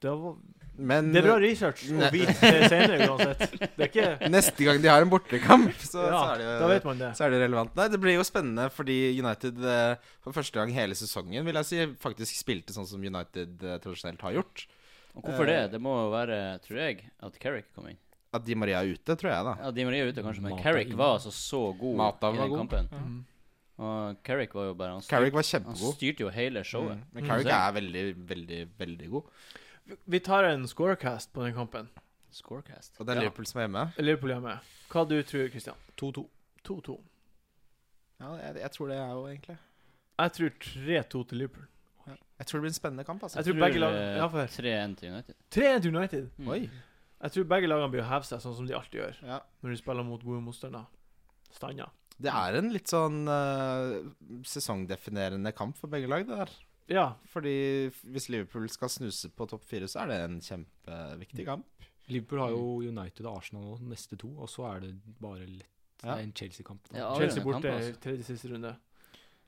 S1: det, var,
S2: Men
S1: det er bra research å
S2: Nei.
S1: vite det senere uansett. Det er ikke
S2: neste gang de har en bortekamp, så,
S1: Ja,
S2: så, er det,
S1: da vet man det.
S2: så er det relevant. Nei, det blir jo spennende fordi United eh, for første gang hele sesongen vil jeg si faktisk spilte sånn som United eh, tradisjonelt har gjort.
S3: Og hvorfor
S2: Eh.
S3: det? Det må jo være, tror jeg, at Carrick kom inn.
S2: At Di Maria er ute, tror jeg, da.
S3: Ja, Di Maria er ute, kanskje, men
S4: Mata
S3: Carrick
S4: inn.
S3: var altså så god
S2: Mata
S3: i
S2: var
S3: den
S2: god.
S3: kampen.
S1: Mm.
S3: Og Carrick var jo bare Han, styr,
S2: Carrick var
S3: han
S2: kjempegod.
S3: styrte jo hele showet.
S2: Mm. Men Carrick
S3: Mm.
S2: er veldig, veldig, veldig god.
S1: Vi- Vi tar en scorecast på den kampen.
S3: Scorecast.
S2: Og det er
S1: Ja.
S2: Liverpool som er hjemme.
S1: Liverpool hjemme. Hva du tror Christian?
S4: 2-2.
S1: 2-2.
S2: Ja, jeg, jeg tror det er jo egentlig
S1: Jeg tror 3-2 til Liverpool.
S2: Jeg tror det blir en spennende kamp, altså.
S1: Jeg tror begge lag
S3: eh,
S1: Ja, for
S3: 3-1 til United.
S1: 3-1 til United.
S3: Mm.
S2: Oi.
S1: Jeg tror begge lagene blir å heve seg, sånn som de alltid gjør
S2: Ja.
S1: når de spiller mot gode motstandere. Stander.
S2: Det er en litt sånn eh, sesongdefinerende kamp for begge lag, det der.
S1: Ja.
S2: Fordi hvis Liverpool skal snuse på topp fire, så er det en kjempeviktig kamp.
S4: Liverpool har jo United og Arsenal nå, neste to, og så er det bare lett.
S2: Ja.
S4: Det er en Chelsea-kamp. da.
S3: Ja, avgjørende
S1: Chelsea
S3: kamp,
S1: borte i
S3: altså.
S1: tredje siste runde.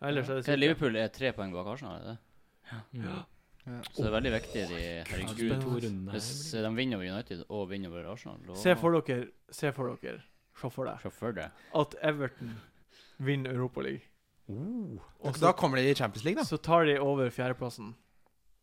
S1: Ellers er det
S3: Ok,
S1: City.
S3: Mm. Liverpool er tre poeng bak Arsenal, er det det?
S4: Mm.
S3: Så det er veldig viktig, de
S4: Ja,
S1: Gud.
S4: de
S3: Herregud.
S4: to rundene her
S3: Hvis
S4: blir-
S3: de vinner over United og vinner over Arsenal, da
S1: Se for dere, se for dere, se for deg,
S3: Se for deg.
S1: at Everton vinner Europaligaen.
S4: Oh.
S1: Og
S2: da
S1: så,
S2: kommer de i Champions League, da.
S1: så tar de over fjerdeplassen.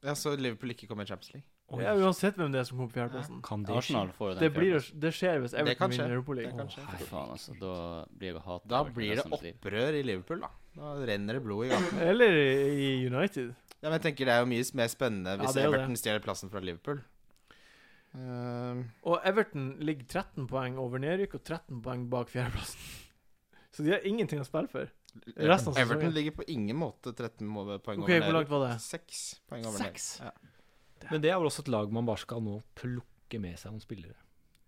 S2: Ja, Så Liverpool ikke kommer i Champions League.
S4: Oi.
S1: Ja, uansett hvem det er som kommer på fjerdeplassen.
S4: Kan det skje?
S3: Arsenal får jo den
S1: Det, blir,
S3: fjerdeplassen.
S1: å- det skjer hvis
S2: Det kan
S1: Everton
S2: skje.
S1: vinner
S2: Det
S1: Europaligaen.
S2: kan
S4: Åh,
S2: skje.
S3: Fy faen, altså. Da blir jeg hatet.
S2: Da blir det opprør i Liverpool, da. Da renner det blod i gangen.
S1: Eller i i United.
S2: Ja, men jeg tenker det er jo mye mer spennende hvis
S1: det er jo
S2: Everton stjeler plassen fra Liverpool. Ehm,
S1: Og Everton ligger 13 poeng over nedrykk og 13 poeng bak fjerdeplassen. Så de har ingenting å spille for. Resten av
S2: Everton
S1: sesongen.
S2: ligger på ingen måte 13 må- poeng
S1: OK,
S2: over
S1: hvor langt var det?
S2: Seks poeng over Seks.
S1: Seks?
S4: Men det er vel også et lag man bare skal nå plukke med seg noen spillere.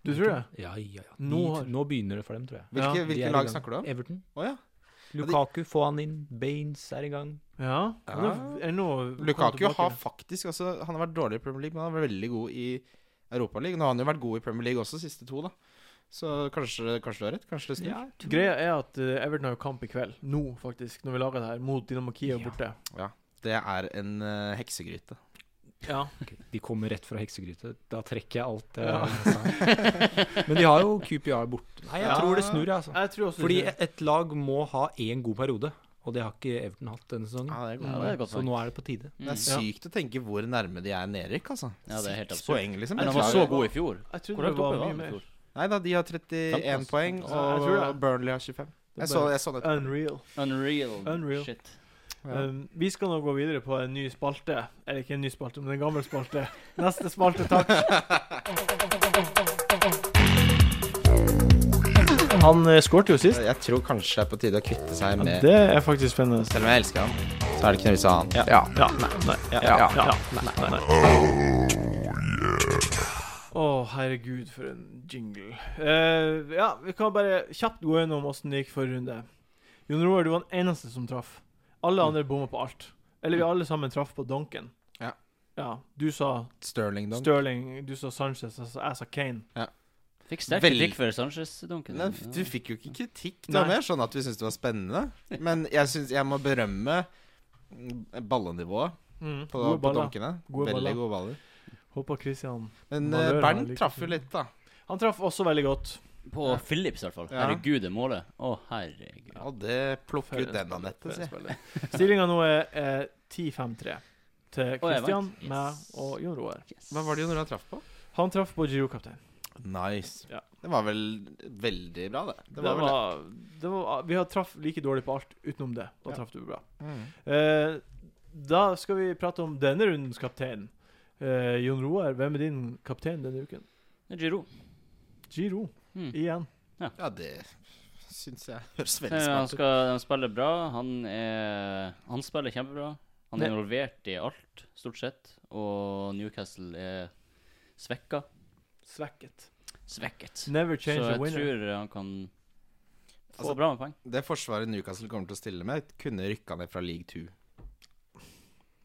S1: Du tror det?
S4: Ja, ja, ja. De,
S1: Nå har-
S4: nå begynner det for dem, tror jeg.
S2: Hvilke,
S1: Ja,
S4: De er
S2: hvilke
S4: i
S2: lag
S4: gang.
S2: snakker du om?
S4: Everton.
S2: Å ja. de-
S4: Lukaku, få han inn. Baines er i gang.
S1: Ja. Han
S2: Ja.
S1: er- er nå kommet
S2: Lukaku
S1: tilbake.
S2: har faktisk også Han har vært dårlig i Premier League, men han har vært veldig god i Europaligaen. Nå har han jo vært god i Premier League også, siste to, da. Så kanskje, kanskje du har rett? Kanskje det snur?
S4: Ja, tror-
S1: Greia er at eh, Everton har jo kamp i kveld. Nå, faktisk, når vi lager det her, mot Dynamo Kiev
S4: Ja.
S1: borte.
S2: Det er en eh, heksegryte.
S1: Ja.
S4: Ok, De kommer rett fra heksegryte. Da trekker jeg alt det
S1: Ja.
S4: jeg sa. Men de har jo QPR borte. Nei, jeg
S1: Ja.
S4: tror det snur, jeg, altså.
S1: Jeg tror også
S4: Fordi et lag må ha én god periode, og det har ikke Everton hatt denne sesongen.
S2: Ja, det er
S3: Ja,
S2: godt.
S3: det er godt
S4: Så
S3: poeng.
S4: nå er det på tide.
S2: Det er
S3: Mm.
S1: Ja.
S2: sykt å tenke hvor nærme de er nedrykk, altså.
S3: Ja, det er helt
S2: Seks
S3: absurd.
S2: poeng, liksom. Jeg
S3: Men han var
S2: tror-
S3: så god i fjor.
S1: Jeg tror
S3: Hvor
S1: det
S3: langt
S1: var mye
S3: oppe var han
S1: mer.
S3: i fjor?
S2: Nei da, de har 31
S3: Femtenplass.
S2: poeng,
S1: Ja, jeg tror det.
S2: og Burnley har 25.
S1: Det
S2: Jeg
S1: er
S2: så,
S1: bare
S2: jeg så det.
S1: Unreal.
S3: Unreal.
S1: Unreal.
S3: Shit.
S2: Ja.
S1: Um, vi skal nå gå videre på en ny spalte. Eller ikke en ny spalte, men en gammel spalte. Neste spalte, takk. Han uh, skårte jo sist.
S2: Jeg tror kanskje det er på tide å kvitte seg
S1: Ja,
S2: med
S1: det er faktisk spennende.
S2: Selv om jeg elsker han, så er det ikke noe vits i å ha han. Ja.
S1: Ja, nei, nei, ja,
S2: Ja,
S1: ja,
S2: ja,
S1: nei, nei. Å, herregud, for en jingle. Eh, ja, vi kan bare kjapt gå gjennom åssen det gikk forrige runde. Jon Roar, du var den eneste som traff.
S2: Mm.
S1: Alle andre bomma på alt. Eller vi alle sammen traff på donken.
S2: Ja.
S1: Ja, du sa
S2: Sterling, da.
S1: Sterling, du sa Sanchez, jeg sa- jeg sa Kane.
S3: Fikk sterk
S2: Veldig.
S3: kritikk for Sanchez-dunken.
S2: Men
S3: Ja.
S2: du fikk jo ikke kritikk. Det var
S1: Nei.
S2: mer sånn at vi syntes det var spennende. Men jeg syns jeg må berømme ballenivået
S1: Mm.
S2: på,
S1: Gode
S2: på
S1: baller.
S2: dunkene.
S1: Gode
S2: Veldig
S1: baller.
S2: gode baller.
S1: Håper Christian
S2: Men
S1: Valør
S2: eh,
S1: har
S2: Bernt
S1: like
S2: traff jo
S1: fin.
S2: litt, da.
S1: Han traff også veldig godt.
S3: På Phillips, i hvert fall.
S2: Ja.
S3: Herregud, det målet. Å, herregud.
S2: Ja, det
S1: For
S2: plukker
S1: en
S2: ut den,
S1: spiller, for
S2: Anette,
S1: en
S2: si.
S1: spiller. Stillinga nå er eh, 10-5-3 til
S3: Og jeg vant.
S1: Christian,
S3: Yes.
S1: meg og Jon Roar.
S3: Yes.
S2: Hva var det Jonora traff på?
S1: Han traff på Giro-kaptein.
S2: Nice.
S1: Ja.
S2: Det var vel veldig bra, det.
S1: Det var, det var, vi har traff like dårlig på alt utenom det. Da
S2: Ja.
S1: traff du bra.
S2: det. Mm.
S1: Eh, da skal vi prate om denne rundens kaptein. Eh, Jon Roar, hvem er din kaptein denne uken?
S3: Det er Giroud.
S1: Giro,
S3: Mm.
S1: igjen.
S2: Ja, det syns jeg høres
S3: Eh,
S2: veldig
S3: Han,
S2: smart ut.
S3: skal, han spiller bra. Han, er, han spiller kjempebra. Han er
S1: Ne-
S3: involvert i alt, stort sett. Og Newcastle er svekka.
S1: Svekket.
S3: Svekket.
S1: Never
S3: Så
S1: change a
S3: jeg
S1: winner.
S3: tror han kan få
S2: Altså-
S3: bra med poeng.
S2: Det forsvaret Newcastle kommer til å stille med, kunne rykka ned fra league two.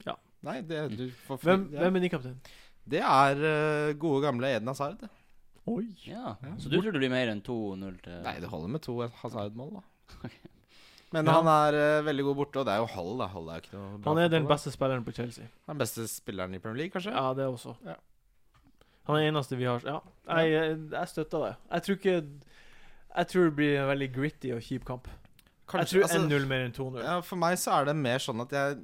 S1: Ja.
S2: Nei, det du får fri,
S1: Hvem,
S2: det,
S1: hvem er din kaptein?
S2: det er eh, gode, gamle Eden Hazard. det.
S1: Oi.
S3: Ja.
S2: Ja.
S3: Så du tror det blir mer enn 2-0 til
S2: Nei, det holder med to Hazard-mål, da. Men
S1: Ja.
S2: han er eh, veldig god borte, og det er jo Hall, da. Hall er jo ikke noe bra
S1: Han er den
S2: fotball, da.
S1: beste spilleren på Chelsea.
S2: Den beste spilleren i Premier League, kanskje?
S1: Ja, det også.
S2: Ja.
S1: Han er den eneste vi har Ja, jeg, jeg, jeg støtter det. Jeg tror ikke Jeg tror det blir en veldig gritty og kjip kamp. jeg tror
S2: altså,
S1: 1-0 mer enn 2-0.
S2: ja, For meg så er det mer sånn at jeg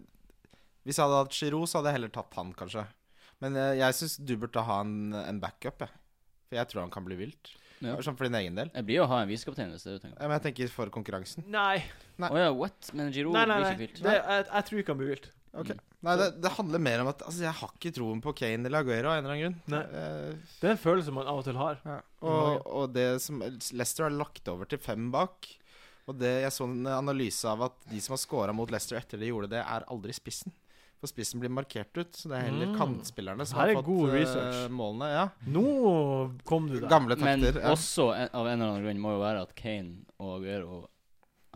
S2: Hvis jeg hadde hatt Giroud, så hadde jeg heller tatt han, kanskje. Men eh, jeg, jeg syns du burde ha en, en backup, jeg. For jeg tror han kan bli vilt.
S3: Ja.
S2: Sånn for din egen del.
S3: Jeg blir jo å ha en visekaptein hvis det er det
S2: Ja,
S3: du tenker.
S2: Men jeg tenker for konkurransen.
S1: Nei,
S3: Å ja, what? Men Giro
S1: nei, nei.
S3: blir
S1: nei.
S3: ikke vilt.
S1: Det, jeg, jeg tror ikke han blir vilt.
S2: Ok. Nei, det, det handler mer om at altså, jeg har ikke troen på Kane eller Aguero av en eller annen grunn.
S1: Nei.
S2: Eh,
S1: Det er en følelse man av og til har.
S2: Ja. Og, og det som Leicester har lagt over til fem bak Og det jeg så en analyse av at de som har scora mot Leicester etter de gjorde det, er aldri spissen. For spissen blir markert ut, så det er heller
S1: Mm.
S2: kantspillerne som
S1: Her er
S2: har fått
S1: god
S2: eh,
S1: research.
S2: målene. Ja.
S1: Nå kom du der.
S2: Gamle
S3: Men
S2: takter. Ja.
S3: også en, av en eller annen grunn må jo være at Kane og Aguero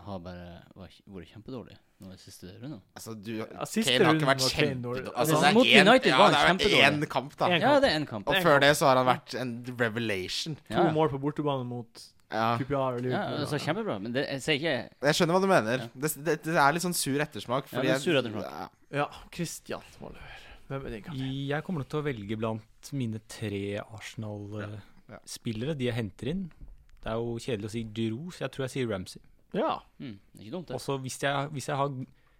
S3: har bare var- vært kjempedårlige nå i siste runde.
S2: Altså, du
S1: Ja, siste
S2: Kane har
S1: runden
S2: ikke vært
S1: var Kane dårlig.
S2: kjempedårlig.
S1: Altså,
S2: det er
S3: mot
S2: én-
S3: United
S2: ja,
S3: var han
S2: det er vel
S3: kjempedårlig.
S2: én kamp, da.
S1: En
S3: Ja,
S1: kamp.
S3: det er en kamp.
S2: Og
S1: en
S2: før
S1: kamp.
S2: det så har han vært en revelation.
S1: To
S3: Ja, ja.
S1: mål på bortebane mot
S2: Ja.
S1: QPR og
S3: ja
S1: Liverpool.
S3: altså, kjempebra. Men det, jeg sier ikke
S2: Jeg skjønner hva du mener. Det, det, det er litt sånn sur ettersmak.
S3: Ja,
S2: Fordi
S3: det er
S2: jeg-
S3: sur ettersmak.
S2: Ja.
S1: ja, Christian Måløver. Hvem er din kamp?
S4: Jeg kommer nok til å velge blant mine tre
S2: Ja, ja.
S4: Arsenal-spillere, de jeg henter inn. Det er jo kjedelig å si Giroud, så jeg tror jeg sier Ramsey.
S1: Ja.
S3: hm, det er Ikke dumt, det.
S4: Også hvis jeg, hvis jeg har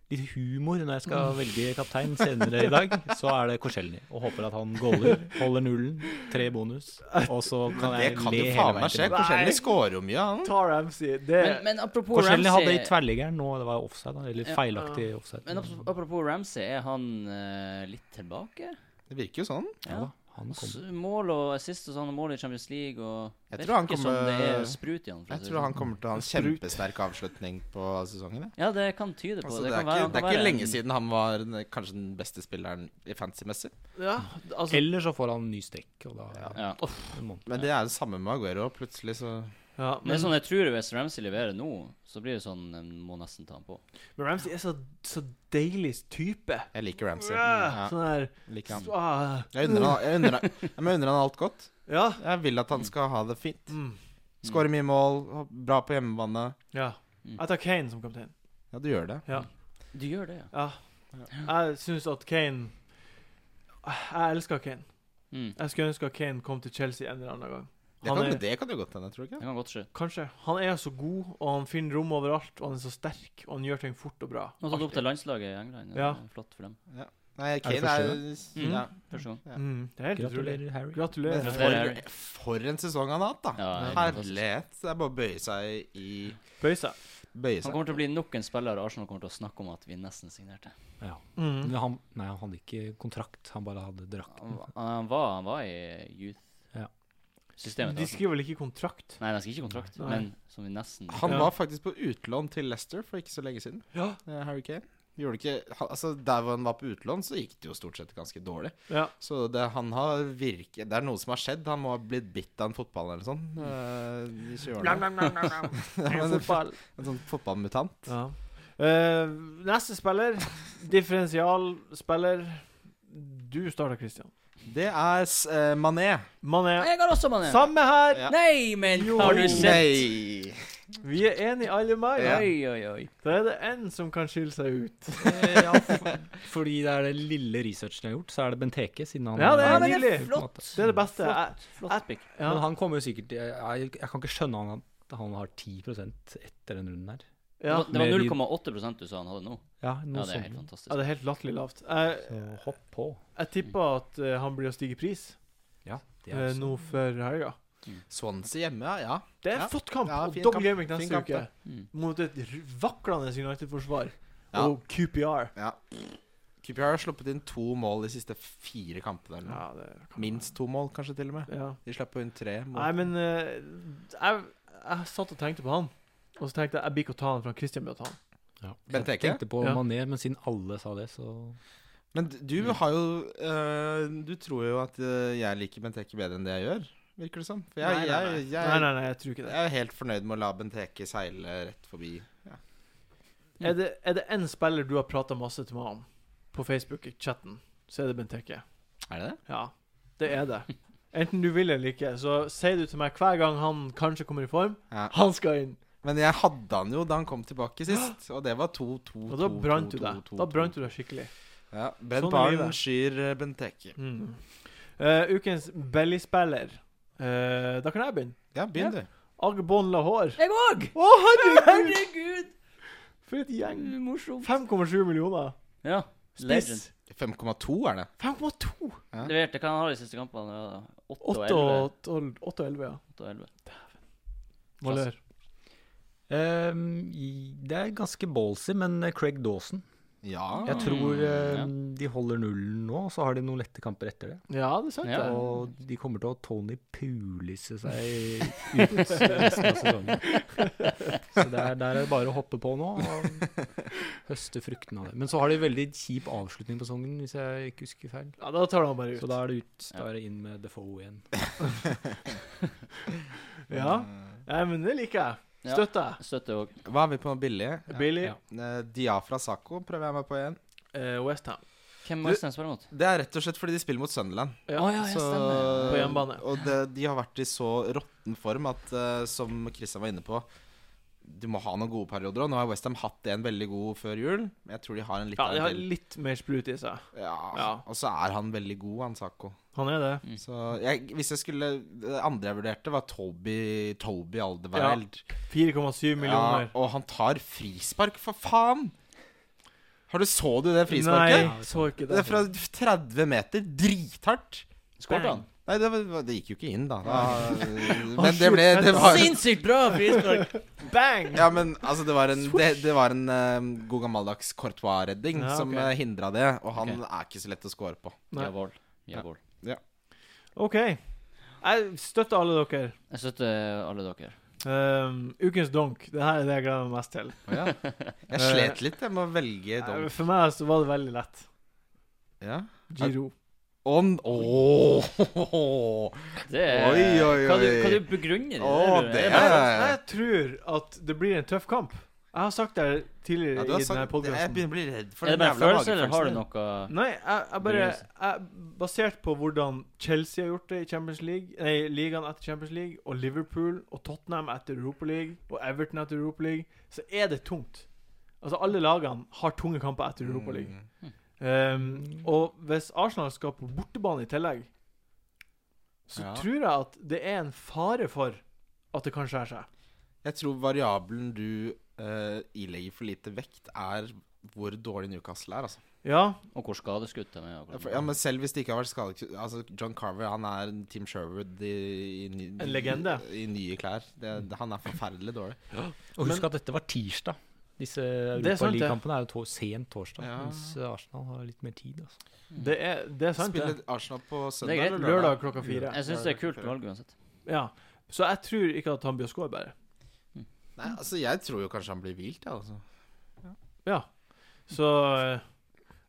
S4: litt humor når jeg skal velge kaptein senere i dag, så er det Korselny. Og håper at han goaler, holder nullen, tre bonus, og så kan
S2: Det
S4: jeg
S2: kan
S4: le
S2: jo
S4: hele
S2: faen meg
S4: veien
S2: skje.
S4: til.
S1: Nei.
S2: Forskjellig scorer jo mye, han.
S1: Ta Ramsey. Det
S3: Men, men apropos
S4: Korselny hadde i
S3: Ramsey
S4: tverrliggeren nå, det var offside, da, eller
S3: Ja.
S4: feilaktig offside.
S3: Men apropos- apropos Ramsey, er han eh, litt tilbake?
S2: Det virker jo sånn.
S4: Ja da, han kom.
S3: S- Mål og assist og sånn, og mål i Champions League og
S2: Jeg
S3: Det
S2: tror han
S3: virker
S2: kommer-
S3: som det er sprut i han. for å
S2: Jeg
S3: si det
S2: tror han
S3: sånn.
S2: kommer til å ha en
S1: Sprut.
S2: kjempesterk avslutning på sesongen. jeg.
S3: Ja, det kan tyde på
S2: Altså,
S3: det.
S2: det, er
S3: kan være,
S2: ikke,
S3: han
S2: det er
S3: kan
S2: ikke
S3: være en-
S2: lenge siden han var den- kanskje den beste spilleren i fantasy-messig.
S1: ja, altså
S4: Eller så får han ny strekk, og da
S3: Ja.
S4: en måned.
S2: Men det er det samme med Aguero. Plutselig så
S1: ja,
S3: Men det
S1: men,
S3: er sånn, jeg tror hvis Ramsey leverer nå, så blir det sånn En må nesten ta han på.
S1: men Ramsey er så, så deilig type.
S2: Jeg liker Ramsey. Mm,
S1: Ja,
S2: Ja,
S1: sånn der
S2: liker han.
S1: ah,
S2: Jeg unner han, jeg unner han, jeg må unner han alt godt.
S1: Ja.
S2: Jeg vil at han skal ha det fint.
S1: Mm.
S2: Skåre mye mål, bra på hjemmebane.
S1: Ja.
S3: Mm.
S1: Jeg tar Kane som kaptein.
S2: Ja, du gjør det.
S3: Du gjør det, ja.
S1: Ja. Jeg syns at Kane Jeg elsker Kane.
S3: Mm.
S1: Jeg skulle ønske at Kane kom til Chelsea en eller annen gang.
S2: Det
S1: Han
S2: kan,
S1: er,
S2: det kan jo godt hende, tror du
S3: Det
S2: ikke?
S3: kan godt skje.
S1: kanskje. Han er så god, og han finner rom overalt, og han er så sterk, og han gjør ting fort og bra.
S3: Nå tatt opp
S1: Alltid.
S3: til landslaget i England.
S1: Ja.
S3: det er Flott for dem.
S2: Nei, Kane
S4: første
S2: er,
S3: Mm.
S2: ja.
S3: Første gang.
S2: Ja.
S1: Mm, det er helt utrolig.
S4: Gratulerer, Harry.
S2: Men
S1: Gratulerer.
S3: Gratulerer.
S2: for, for en sesong han har hatt, da.
S3: Ja, helt fantastisk.
S2: Herlighet. Det er bare å bøye seg i
S1: Bøy seg.
S2: Bøye
S3: Han
S2: seg.
S3: kommer til å bli nok en spiller Arsenal kommer til å snakke om at vi nesten signerte.
S4: Ja.
S1: Mm.
S4: Men han, nei, han hadde ikke kontrakt, han bare hadde drakten.
S3: Han, var- han, var, han var i
S4: Ja.
S3: youth-systemet.
S1: De
S3: til Arsenal.
S1: skriver vel ikke kontrakt?
S3: Nei, de skriver ikke kontrakt,
S1: Nei.
S3: men som vi nesten
S1: Ja.
S2: Han var faktisk på utlån til Leicester for ikke så lenge siden.
S1: Ja.
S2: eh, Harry Kane. Gjorde ikke, han- altså Der hvor han var på utlån, så gikk det jo stort sett ganske dårlig.
S1: ja.
S2: Så det, han har virke, det er noe som har skjedd. Han må ha blitt bitt av en fotball eller noe sånt. eh, i 20-årene. en,
S1: Fotball.
S2: en sånn fotballmutant.
S1: Ja. Eh, neste spiller, differensialspiller Du starter, Christian.
S2: Det er s- eh, Mané.
S1: Mané.
S3: Jeg har også mané!
S1: Samme her!
S2: Ja.
S3: Nei, men
S1: Jo.
S3: har du sett?
S2: Nei.
S1: Vi er enige, alle mann.
S2: Ja.
S3: Oi, oi, oi.
S1: Da er det én som kan skille seg ut.
S4: Ja, fordi det er det lille researchen jeg har gjort, så er det Benteke, siden han
S1: Ja, det
S3: Ja,
S1: er
S4: Nei,
S3: men det er
S1: nydelig.
S3: flott.
S1: Det er det beste. Jeg,
S3: Flott pick.
S1: ja.
S4: Men han kommer jo sikkert jeg, jeg, jeg kan ikke skjønne han at han har 10 etter den runden her.
S1: Ja.
S3: Det var- Det var
S4: Med de-
S3: 0,8 du sa han hadde nå.
S4: Ja,
S3: Ja,
S4: noe
S3: det er helt
S4: sånt.
S1: ja,
S3: fantastisk.
S1: det er helt latterlig lavt. Jeg,
S4: Så Eh, hopp på.
S1: jeg tipper at eh, han blir å stige i pris
S4: Ja, det
S1: eh,
S4: er altså-
S1: nå før helga.
S2: Swansea hjemme, ja, ja.
S1: Det er
S2: Ja.
S1: en flott kamp!
S2: Ja,
S1: og
S2: fin
S1: double
S2: kamp.
S1: gaming
S2: Fin
S1: neste
S2: kamp,
S1: uke
S2: det.
S3: Mm.
S1: mot et r- vaklende United-forsvar
S2: Ja.
S1: og QPR.
S2: ja. QPR har sluppet inn to mål de siste fire kampene. Eller noe.
S1: Ja, det kan
S2: Minst to mål, kanskje til og med.
S1: Ja.
S2: De slapp inn tre. Mot.
S1: Nei, men eh, jeg, jeg satt og tenkte på han. Og så tenkte jeg jeg blir ikke å ta han, for han Christian blir å ta han.
S4: ja.
S2: Benteke?
S4: Jeg tenkte på
S1: Ja.
S4: Mané, men siden alle sa det, så
S2: Men d-
S1: Mm.
S2: du har jo øh, Du tror jo at øh, jeg liker Benteke bedre enn det jeg gjør, virker det som. For jeg,
S1: nei, nei, nei.
S2: jeg,
S1: nei,
S2: jeg,
S1: nei, nei, jeg tror ikke det.
S2: jeg er helt fornøyd med å la Benteke seile rett forbi. Ja.
S1: Er det, er det en spiller du har prata masse til meg om på Facebook-chatten, så er det Benteke.
S2: Er det det?
S1: Ja, det er det. Enten du vil eller ikke, så sier du til meg hver gang han kanskje kommer i form
S2: Ja.
S1: Han skal inn!
S2: Men jeg hadde han jo da han kom tilbake sist, og det var 2-2.
S1: Og da brant du deg. Da brant du deg skikkelig.
S2: Ja, Brent
S1: Sånn er
S2: Barn
S1: livet.
S2: skyr øh, Benteke.
S1: Mm. Eh, ukens bellyspiller. Eh, da kan jeg begynne.
S2: Ja, begynn, du.
S1: Agbon Lahore.
S3: Jeg òg!
S1: Å, herregud!
S3: Herregud!
S1: For et gjeng.
S2: Mm.
S3: Morsomt.
S1: 5,7 millioner.
S3: Ja. Legend.
S1: Spiss.
S2: 5,2 er det.
S1: 5,2.
S3: Leverte hva han har de siste kampene. Ja, 8 og
S1: 8
S3: 11.
S1: og 12 8 og 11, ja.
S3: 8 og 11.
S1: Valør.
S4: Ehm, i- det er ganske ballsy, men eh, Craig Dawson
S2: Ja.
S4: Jeg tror eh,
S3: Mm. ja.
S4: de holder nullen nå, og så har de noen lette kamper etter det.
S1: Ja, det er sant,
S3: Ja.
S1: det.
S4: Og de kommer til å Tony Pulise seg ut resten av sesongen. Så der, der er det bare å hoppe på nå og høste fruktene av det. Men så har de veldig kjip avslutning på sesongen, hvis jeg ikke husker feil.
S1: Ja, da tar du han bare
S4: Så
S1: ut.
S4: da er det ut, da er det inn med Defoe igjen.
S1: Ja. Nei, men det liker jeg.
S3: Ja.
S1: Støtter jeg.
S3: Støtter òg.
S2: Hva har vi på billige?
S1: Billy,
S4: Ja.
S2: Eh, Diafra Sako prøver jeg meg på igjen.
S1: eh, West Ham
S3: Hvem må Øystein spille mot?
S2: Det er rett og slett fordi de spiller mot Sunderland.
S1: Ja,
S3: Å, ja, ja, stemmer.
S1: På hjemmebane.
S2: Og det, de har vært i så råtten form at, eh, som Christian var inne på Du må ha noen gode perioder òg. Nå har Westham hatt en veldig god før jul. Men jeg tror de har en litt
S1: Ja,
S2: av
S1: de
S2: en
S1: har
S2: til.
S1: litt mer sprut i seg.
S2: Ja.
S1: Ja.
S2: Og så er han veldig god, han Sako.
S1: Han er det.
S3: Mm.
S2: Så jeg, hvis jeg skulle Det andre jeg vurderte, var Toby, Toby Alderweireld.
S1: 4,7 millioner.
S2: og han tar frispark, for faen! Har du Så du det frisparket?
S1: Nei, så ikke
S2: Det
S1: det.
S2: er fra 30 meter. Drithardt.
S3: Skåret han?
S2: Nei, det, var, det gikk jo ikke inn, da. da men det ble det var,
S3: Sinnssykt bra frispark!
S1: Bang!
S2: Ja, men altså, det var en, det, det var en eh, god gammeldags Courtois-redding
S1: Ja,
S2: som
S1: ok.
S2: uh, hindra det. Og han
S3: Ok.
S2: er ikke så lett å score på.
S1: Nei.
S3: Javol. Javol.
S1: OK. Jeg støtter alle dere.
S3: Jeg støtter alle dere.
S1: Um, ukens donk. Det her er det jeg gleder meg mest til.
S2: Jeg slet litt jeg med å velge
S1: Eh,
S2: Dom.
S1: For meg så var det veldig lett.
S2: Ja.
S1: Giro.
S2: On Ååå.
S3: Det
S2: Oi, oi,
S3: Hva, du,
S2: oi.
S3: hva du begrunner det?
S2: Å,
S3: du?
S2: det
S1: Jeg,
S2: Ja, ja, ja.
S1: jeg tror at det blir en tøff kamp. Jeg har sagt det
S2: Ja,
S1: tidligere
S2: du har
S1: i denne
S2: sagt, jeg
S1: podkasten.
S2: begynner å bli redd for
S3: Er det
S2: den
S3: bare
S2: jævla
S3: følelser, eller har du
S2: magefølelsen.
S3: noe
S1: Nei, jeg, jeg bare jeg, Basert på hvordan Chelsea har gjort det i Champions League Nei, ligaen etter Champions League, og Liverpool og Tottenham etter Europa League, og Everton etter Europa League, så er det tungt. Altså, alle lagene har tunge kamper etter Europa League.
S2: Mm.
S1: Um, og hvis Arsenal skal på bortebane i tillegg, så
S2: Ja.
S1: tror jeg at det er en fare for at det kan skjære seg.
S2: Jeg tror variabelen du eh, ilegger for lite vekt, er hvor dårlig Newcastle er, altså.
S1: Ja,
S3: Og hvor skadeskutt de er?
S2: Ja,
S3: og hvordan-
S2: for- Ja, men selv hvis det ikke har vært skadet Altså, John Carver han er en Tim Sherwood i, i, ny-
S1: En legende.
S2: i, nye klær. Det, det, han er forferdelig dårlig.
S4: Og husk at dette var tirsdag. Disse
S1: Det er sant, det.
S4: Europaliga-kampene er jo to sent torsdag,
S2: Ja.
S4: mens Arsenal har litt mer tid. Altså.
S1: det er, det er sant. det.
S2: Spiller Arsenal på søndag
S3: greit.
S2: eller lørdag?
S1: Lørdag klokka fire.
S3: Jeg syns det er kult valg uansett.
S1: Ja. Så jeg tror ikke at han blir å score, bare.
S2: Nei, altså, jeg tror jo kanskje han blir hvilt, jeg, altså.
S1: Ja. Så eh,
S2: Eh,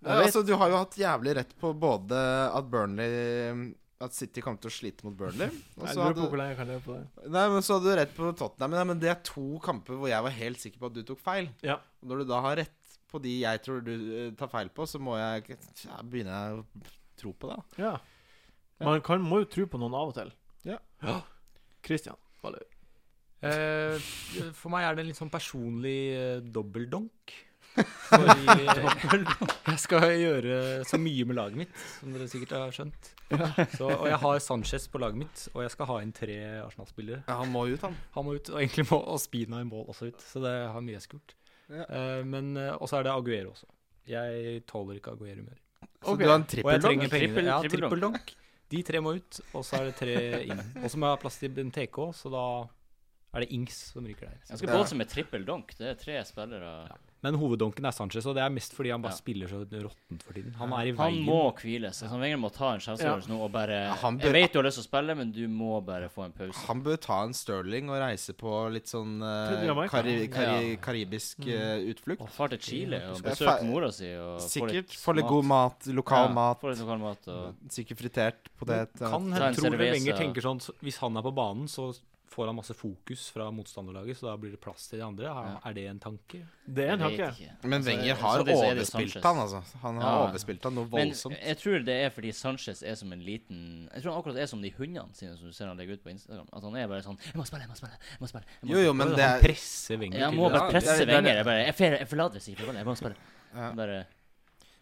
S1: jeg vet,
S2: altså. Du har jo hatt jævlig rett på både at Burnley At City kommer til å slite mot Burnley. Og
S1: Jeg
S2: så
S1: lurer på
S2: hadde,
S1: hvor lenge jeg kan leve på det.
S2: nei, men så hadde du rett på Tottenham. Nei, men det er to kamper hvor jeg var helt sikker på at du tok feil.
S1: Ja.
S2: Og Når du da har rett på de jeg tror du eh, tar feil på, så må jeg ja, begynne å tro på det. da.
S1: ja. Man kan, må jo tro på noen av og til.
S2: Ja.
S1: Christian. Valøy.
S4: Eh, for meg er det en litt sånn personlig uh, dobbeldonk. Fordi jeg skal gjøre så mye med laget mitt, som dere sikkert har skjønt. Så, og jeg har Sanchez på laget mitt, og jeg skal ha inn tre Arsenal-spillere.
S2: Ja, han må ut, han.
S4: Han må ut, og egentlig må og Spina i mål også ut, så det har mye jeg skulle gjort.
S2: Ja.
S4: Eh, men, eh, og så er det Aguero også. Jeg tåler ikke Aguero mer.
S2: Så
S1: Ok.
S2: du har en
S4: Og jeg
S2: trippeldong?
S4: trenger pengene.
S3: Trippel-
S4: Ja,
S3: trippeldonk.
S4: trippeldonk. De tre må ut, og så er det tre inn. Og så må jeg ha plass til Benteke òg, så da er det Ings som ryker der.
S3: Ganske
S2: Ja.
S3: voldsomt med trippel donk. Det er tre spillere.
S4: Men hoveddonken er Sanchez, og det er mest fordi han bare
S3: Ja.
S4: spiller så råttent for tiden. Han er i
S3: Han
S4: veien.
S3: må hvile seg. Han Vegard må ta
S1: Ja.
S3: en skjellsavgjørelse nå og bare
S2: han bør-
S3: Jeg vet du har lyst til å spille, men du må bare få en pause.
S2: Han bør ta en Sterling og reise på litt sånn eh,
S1: Til Jamaica.
S2: kari kari karibisk
S3: Mm.
S2: eh, utflukt.
S3: Og far til Chile og
S2: Skal jeg
S3: besøke
S2: fe-
S3: mora si og få litt
S2: Sikkert få litt god mat, lokal
S3: Ja,
S2: mat,
S3: Få litt lokal mat og
S2: sikkert fritert potet. ja.
S4: Kan
S3: Ta
S4: hende
S3: en
S4: tror vi
S3: cerveza.
S4: lenger tenker sånn så Hvis han er på banen, så får han masse fokus fra motstanderlaget, så da blir det plass til de andre. Er, er det en tanke?
S1: Det er en
S3: Jeg vet
S1: tanke.
S3: ikke.
S2: Men
S3: Altså,
S2: Wenger
S3: så
S2: har
S3: det- så er det
S2: overspilt
S3: Sanchez.
S2: han, altså. Han har
S3: Ja.
S2: overspilt han noe
S3: Men
S2: voldsomt.
S3: jeg tror det er fordi Sanchez er som en liten Jeg tror han akkurat er som de hundene sine som du ser han legger ut på Instagram. At han er bare sånn 'Jeg må spille, jeg må spille, jeg må spille'. Jeg må
S2: Jo, jo,
S3: spille.
S2: men
S4: han
S2: det er
S4: presser Wenger
S3: Jeg
S4: til
S3: må
S4: det.
S3: bare
S2: Ja, det er-
S3: presse
S2: det er-
S3: Wenger. Jeg bare Jeg, fer, jeg forlater sikkert ballen, jeg må spille.
S2: Ja.
S3: Bare,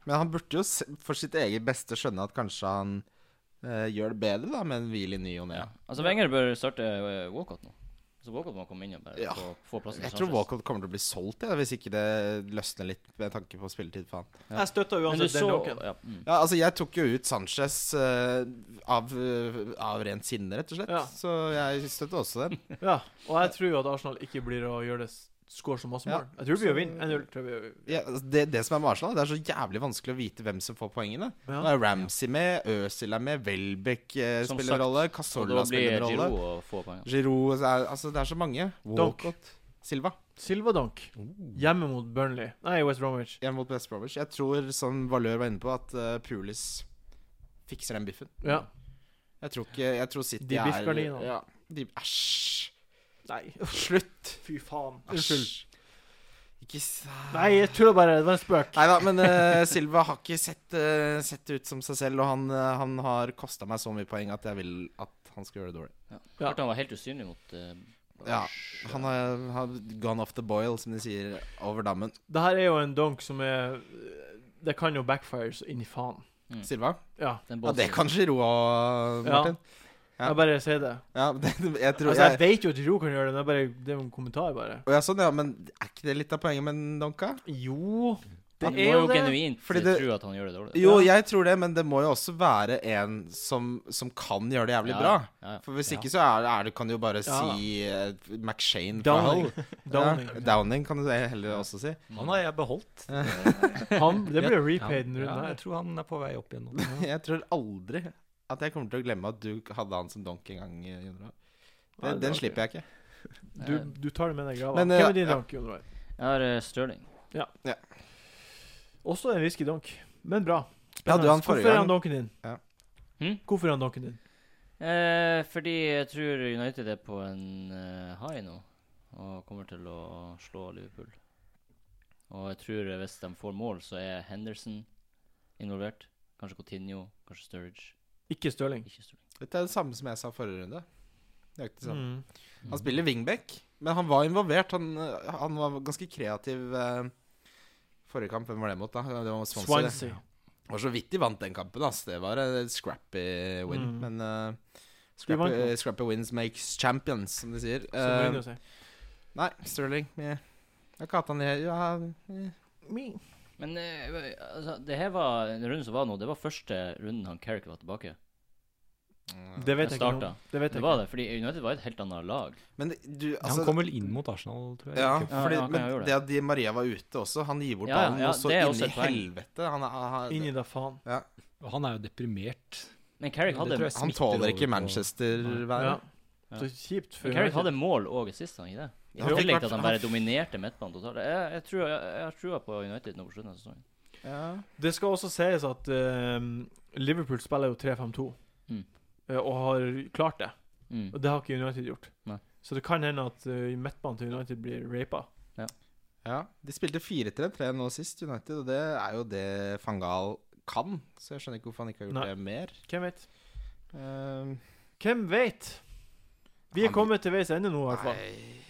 S2: Men han burde jo se- for sitt eget beste skjønne at kanskje han eh, gjør det bedre, da, med en hvil i ny og ne.
S3: Altså Wenger bør starte eh, Walcott nå. Så Walcott må komme inn og bare
S2: Ja.
S3: få, få plassen
S2: Jeg
S3: til
S2: tror
S3: Sanchez.
S2: Walcott kommer til å bli solgt, jeg, hvis ikke det løsner litt med tanke på spilletid for han.
S3: Ja.
S1: Jeg støtter
S3: Men du
S1: uansett den
S3: så
S1: donken.
S3: ja, mm.
S2: Ja, altså Jeg tok jo ut Sanchez eh, av, av rent sinne, rett og slett.
S1: Ja.
S2: Så jeg støtter også den.
S1: Ja, og jeg tror jo at Arsenal ikke blir å gjøre det s- score så masse
S2: Ja.
S1: mål. Jeg tror vi
S2: Så-
S1: å vinne 1-0. tror jeg vi-
S2: Ja, altså, det, det som er med Arsenal, det er så jævlig vanskelig å vite hvem som får poengene.
S1: Ja.
S2: Nå er Ramsey med, Øzil er med, Welbeck eh,
S3: Som
S2: spiller en
S3: sagt.
S2: rolle,
S3: Og da
S2: Casorla spiller
S3: blir
S2: en
S3: Giroud
S2: rolle.
S3: å få poeng.
S2: Giroud så er- Altså, det er så mange.
S1: Dunk.
S2: Walcott. Silva.
S1: Silva Donk
S2: Oh.
S1: hjemme mot Burnley. Nei, West Bromwich.
S2: Jeg mot West Bromwich. Jeg tror, som Valør var inne på, at eh, Pulis fikser den biffen.
S1: Ja.
S2: Jeg tror ikke Jeg tror City
S1: De
S2: er
S1: biffgardinene.
S2: ja, de, Æsj!
S1: Nei,
S2: Slutt!
S1: fy faen. Unnskyld.
S2: Æsj. Ikke s-
S1: Nei, jeg tuller bare. Det var en spøk.
S2: Nei da, men eh, Silva har ikke sett, eh, sett ut som seg selv, og han, eh, han har kosta meg så mye poeng at jeg vil at han skal gjøre det dårlig.
S1: Ja.
S3: Hørte han var helt usynlig mot eh,
S2: Ja,
S3: Blanche.
S2: han har, har gone off the boil, som de sier, over dammen.
S1: Det her er jo en donk som er Det kan jo backfire så inn i faen.
S2: Silva?
S1: Ja.
S3: Den
S2: Ja, det
S3: båten-
S2: kan Giroud òg,
S1: Ja.
S2: Martin. Ja.
S1: Jeg bare sier det.
S2: Ja, det, jeg tror
S1: Altså, jeg
S2: jeg,
S1: vet jo at Ro kan gjøre det, men det er bare det er jo en kommentar, bare.
S2: Å, ja, sånn, ja, men er ikke det litt av poenget med Donka?
S1: Jo
S3: Han
S1: Det
S3: må
S1: er jo
S3: jo
S1: det.
S3: genuint
S2: Fordi
S3: Fordi
S2: det-
S3: tro at han gjør det dårlig.
S2: Jo,
S1: Ja.
S2: jeg tror det, men det må jo også være en som, som kan gjøre det jævlig
S3: Ja,
S2: bra.
S3: ja, ja.
S2: For hvis ikke så er, er det, kan du jo
S1: Ja.
S2: bare si uh, McShane fra
S1: Downing.
S2: Hull.
S1: Downing.
S2: Ja, Downing kan du heller også si.
S4: Han har jeg beholdt.
S1: Han, det blir repaid den
S4: Ja,
S1: runden
S4: ja,
S1: her.
S4: jeg tror han er på vei opp igjen nå.
S2: Jeg tror aldri at jeg kommer til å glemme at du hadde han som donk en gang. eh, Jon Roar.
S1: Ja,
S2: Den,
S1: det
S2: den
S1: var
S2: slipper jeg ikke.
S1: Du, du tar det med deg i grava.
S2: Men,
S1: Hvem
S2: eh,
S1: er din
S2: ja.
S1: donk, Jon Roar?
S3: Jeg har eh, Sterling.
S1: Også en risky donk, men bra.
S2: Ja, du, han forrige
S1: Hvorfor er han
S2: gang-
S1: donken din?
S2: Ja.
S3: Hm?
S1: Hvorfor er han donken din?
S3: Eh, fordi jeg tror United er på en eh, high nå, og kommer til å slå Liverpool. Og jeg tror eh, hvis de får mål, så er Henderson involvert. Kanskje Coutinho, kanskje Sturridge.
S1: Ikke Stirling.
S3: Ikke Stirling.
S2: Dette er det samme som jeg sa forrige runde. Nøyaktig det samme.
S1: Mm.
S2: Han spiller wingback, men han var involvert. Han, eh, han var ganske kreativ. eh, Forrige kamp, hvem var det mot? da? Det var Swansea. det.
S1: Swansea.
S2: Det var så vidt de vant den kampen. ass. Det var en scrappy win.
S1: Mm.
S2: Men eh,
S1: De vant
S2: scrappy,
S1: nå.
S2: eh, scrappy wins makes champions, som de sier.
S1: Som
S2: Eh,
S1: Mourinho sier.
S2: nei, Sterling eh, Jeg har ikke hatt han i ja, eh.
S3: Men eh, altså, det her var en runde som var nå. Det var første runden han Carrick var tilbake.
S1: Det vet jeg ikke
S3: Jeg
S1: noe
S3: starta.
S1: om. Det vet
S3: Det
S1: jeg ikke.
S3: var det, fordi United var et helt annet lag.
S2: Men du, altså
S4: Han kom vel inn mot Arsenal, tror jeg.
S2: ja,
S4: Ikke?
S3: Ja,
S2: fordi,
S3: ja, han kan
S2: men
S3: gjøre det.
S2: det at Di Maria var ute også Han gir bort
S3: Ja, ja,
S2: ballen,
S3: ja,
S2: og så
S3: det er
S2: inn i
S3: også et poeng.
S2: helvete. Han, er- han,
S1: Inni da faen.
S4: Han er jo deprimert.
S3: Men Carrick
S4: Ja, det
S3: hadde,
S4: tror jeg.
S2: han
S4: smitter
S2: tåler
S4: over
S2: ikke
S4: på-
S2: Manchester-været.
S1: Ja.
S3: Ja.
S1: Så kjipt for
S3: men Carrick
S1: United.
S3: hadde mål og assist, han ikke det? I
S2: Ja, han fikk
S3: tillegg til
S2: hvert-
S3: at han
S2: han-
S3: bare dominerte midtbanen totalt. Jeg, jeg, tror, jeg, jeg har trua på United nå på slutten av sesongen.
S2: Ja.
S1: Det skal også sies at eh, Liverpool spiller jo 3-5-2,
S3: Mm.
S1: eh, og har klart det.
S3: Mm.
S1: Og det har ikke United gjort.
S3: Nei.
S1: Så det kan hende at eh, midtbanen til United blir rapa.
S2: Ja. De spilte 4-3-3 nå sist, United, og det er jo det Fangal kan. Så jeg skjønner ikke hvorfor han ikke har gjort
S1: Nei.
S2: det mer.
S1: Hvem vet?
S2: Eh,
S1: Hvem vet? Vi er
S2: Han-
S1: kommet til veis ende nå, i hvert fall.
S2: nei.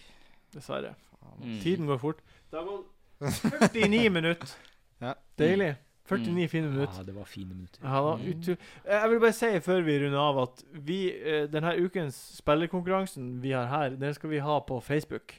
S1: Dessverre.
S3: Mm.
S1: Tiden går fort. Det har gått 49 minutter.
S2: Ja.
S1: Deilig. 49 Mm. fine minutter.
S4: Ja, det var fine minutter.
S1: Ja, da,
S3: Mm.
S1: utro- Jeg vil bare si før vi runder av at vi, eh, denne ukens spillerkonkurransen vi har her, den skal vi ha på Facebook.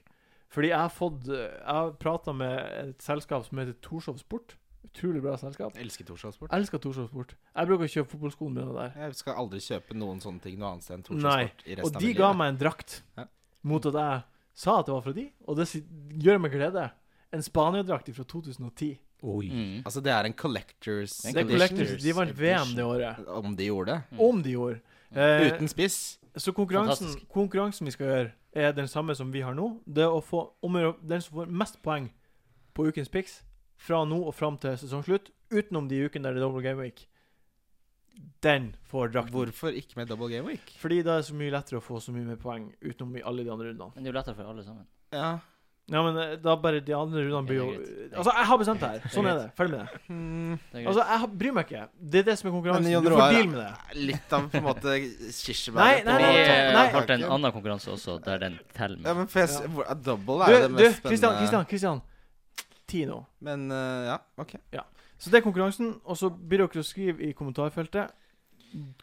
S1: Fordi jeg har fått eh, Jeg har prata med et selskap som heter Torshov Sport. Utrolig bra selskap.
S2: Jeg elsker Torsdagsport.
S1: Jeg elsker Torshov Sport. Jeg bruker å kjøpe fotballskoene mine der.
S2: Jeg skal aldri kjøpe noen sånne ting noe annet sted enn
S1: Nei,
S2: Torsdagsport i resten
S1: Og de
S2: av
S1: ga meg en drakt
S2: Ja.
S1: mot at jeg sa at det var fra de, og det si- gjør meg glede. En Spania-drakt fra 2010.
S4: Oi.
S3: Mm.
S2: Altså, det er en collectors
S3: Det
S1: Det
S3: er
S1: er
S3: Collectors
S1: collectors. De vant VM det året.
S2: Om de gjorde det.
S3: Mm.
S1: Om de gjorde. Eh,
S2: Uten spiss.
S1: Så konkurransen,
S3: Fantastisk.
S1: konkurransen vi skal gjøre, er den samme som vi har nå. Det er å få om å gjøre- Den som får mest poeng på ukens Pix fra nå og fram til sesongslutt, utenom de ukene der det er double game week, den får drakten.
S2: Hvorfor ikke med double game week?
S1: Fordi da er det så mye lettere å få så mye mer poeng utenom i alle de andre rundene.
S3: Men det er jo lettere for alle sammen.
S2: Ja.
S1: Ja, men eh, da bare de andre rundene blir jo
S3: Ja, det er greit.
S1: Altså, jeg har bestemt det her. Sånn er det. Ferdig med det.
S2: Mm.
S3: Det er greit.
S1: Altså, jeg har- bryr meg ikke. Det er det som er
S2: Men
S1: konkurransen.
S2: Jon
S1: Du får
S2: Roar-
S1: deal med det.
S2: Litt av på en måte
S1: Nei,
S2: kirsebæret
S1: nei,
S2: på
S1: nei,
S3: vi
S1: nei, nei.
S3: eh, har hatt en
S2: taket.
S3: annen konkurranse også, der den teller
S2: Ja,
S3: med.
S2: men fes,
S1: Ja.
S2: hvor- double er jo
S1: Du,
S2: det
S1: du,
S2: mest
S1: Kristian,
S2: spennende.
S1: Kristian, Kristian. Ti nå.
S2: Men eh, ja, OK.
S1: Så det er konkurransen, og så blir dere å skrive i kommentarfeltet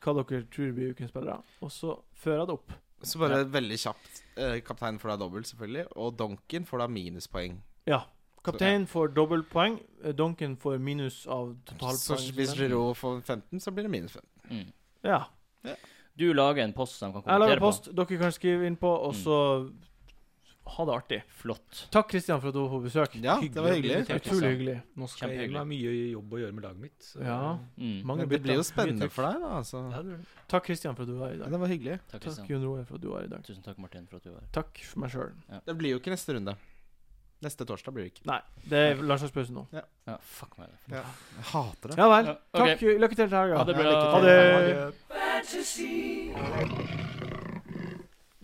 S1: hva dere tror blir ukens spillere, og så fører jeg det opp.
S2: Så bare veldig kjapt. Eh, Kapteinen får da dobbelt, selvfølgelig. Og Donken får da minuspoeng.
S1: Ja. Kapteinen får dobbeltpoeng. eh, Duncan får minus av
S2: Så hvis
S1: totalpoeng.
S2: Giroud får 15, så blir det minus 15.
S3: Mm.
S1: Ja.
S3: Du lager en post som de kan
S1: Jeg lager
S3: kommentere på.
S1: post dere kan skrive inn på, og
S3: Mm.
S1: så ha det artig.
S3: Flott.
S1: Takk, Kristian, for at du var på besøk.
S2: Ja, det var
S4: Hyggelig å bli
S2: hyggelig.
S4: invitert.
S3: Takk,
S1: Utrolig hyggelig.
S4: Nå skal jeg
S3: Kjempehyggelig.
S4: ha mye jobb å gjøre med laget mitt. så-
S1: Ja.
S3: Mm.
S1: Mange
S2: Men det blir
S1: bytter.
S2: jo
S1: Mye
S2: spennende
S1: takk.
S2: for deg, da. Altså.
S4: Ja, det gjør det.
S1: Takk, Kristian, for at du var her i
S2: Ja,
S1: dag.
S2: det var hyggelig.
S3: Takk,
S1: Takk,
S3: Kristian.
S1: Jon Roar, for at du var her i dag.
S3: Tusen takk, Martin, for at du var her.
S1: Takk for meg sjøl.
S2: Det blir jo ikke neste runde. Neste torsdag blir det ikke.
S1: Nei, det er landslagspause nå.
S3: Ja, fuck meg. det.
S2: Jeg hater det.
S1: Ja vel.
S3: Ja, ok.
S1: Takk. Lykke til til helga.
S3: Ha det
S2: Ja, lykke
S3: bra.
S2: til.
S1: Ha det.
S2: Ha det.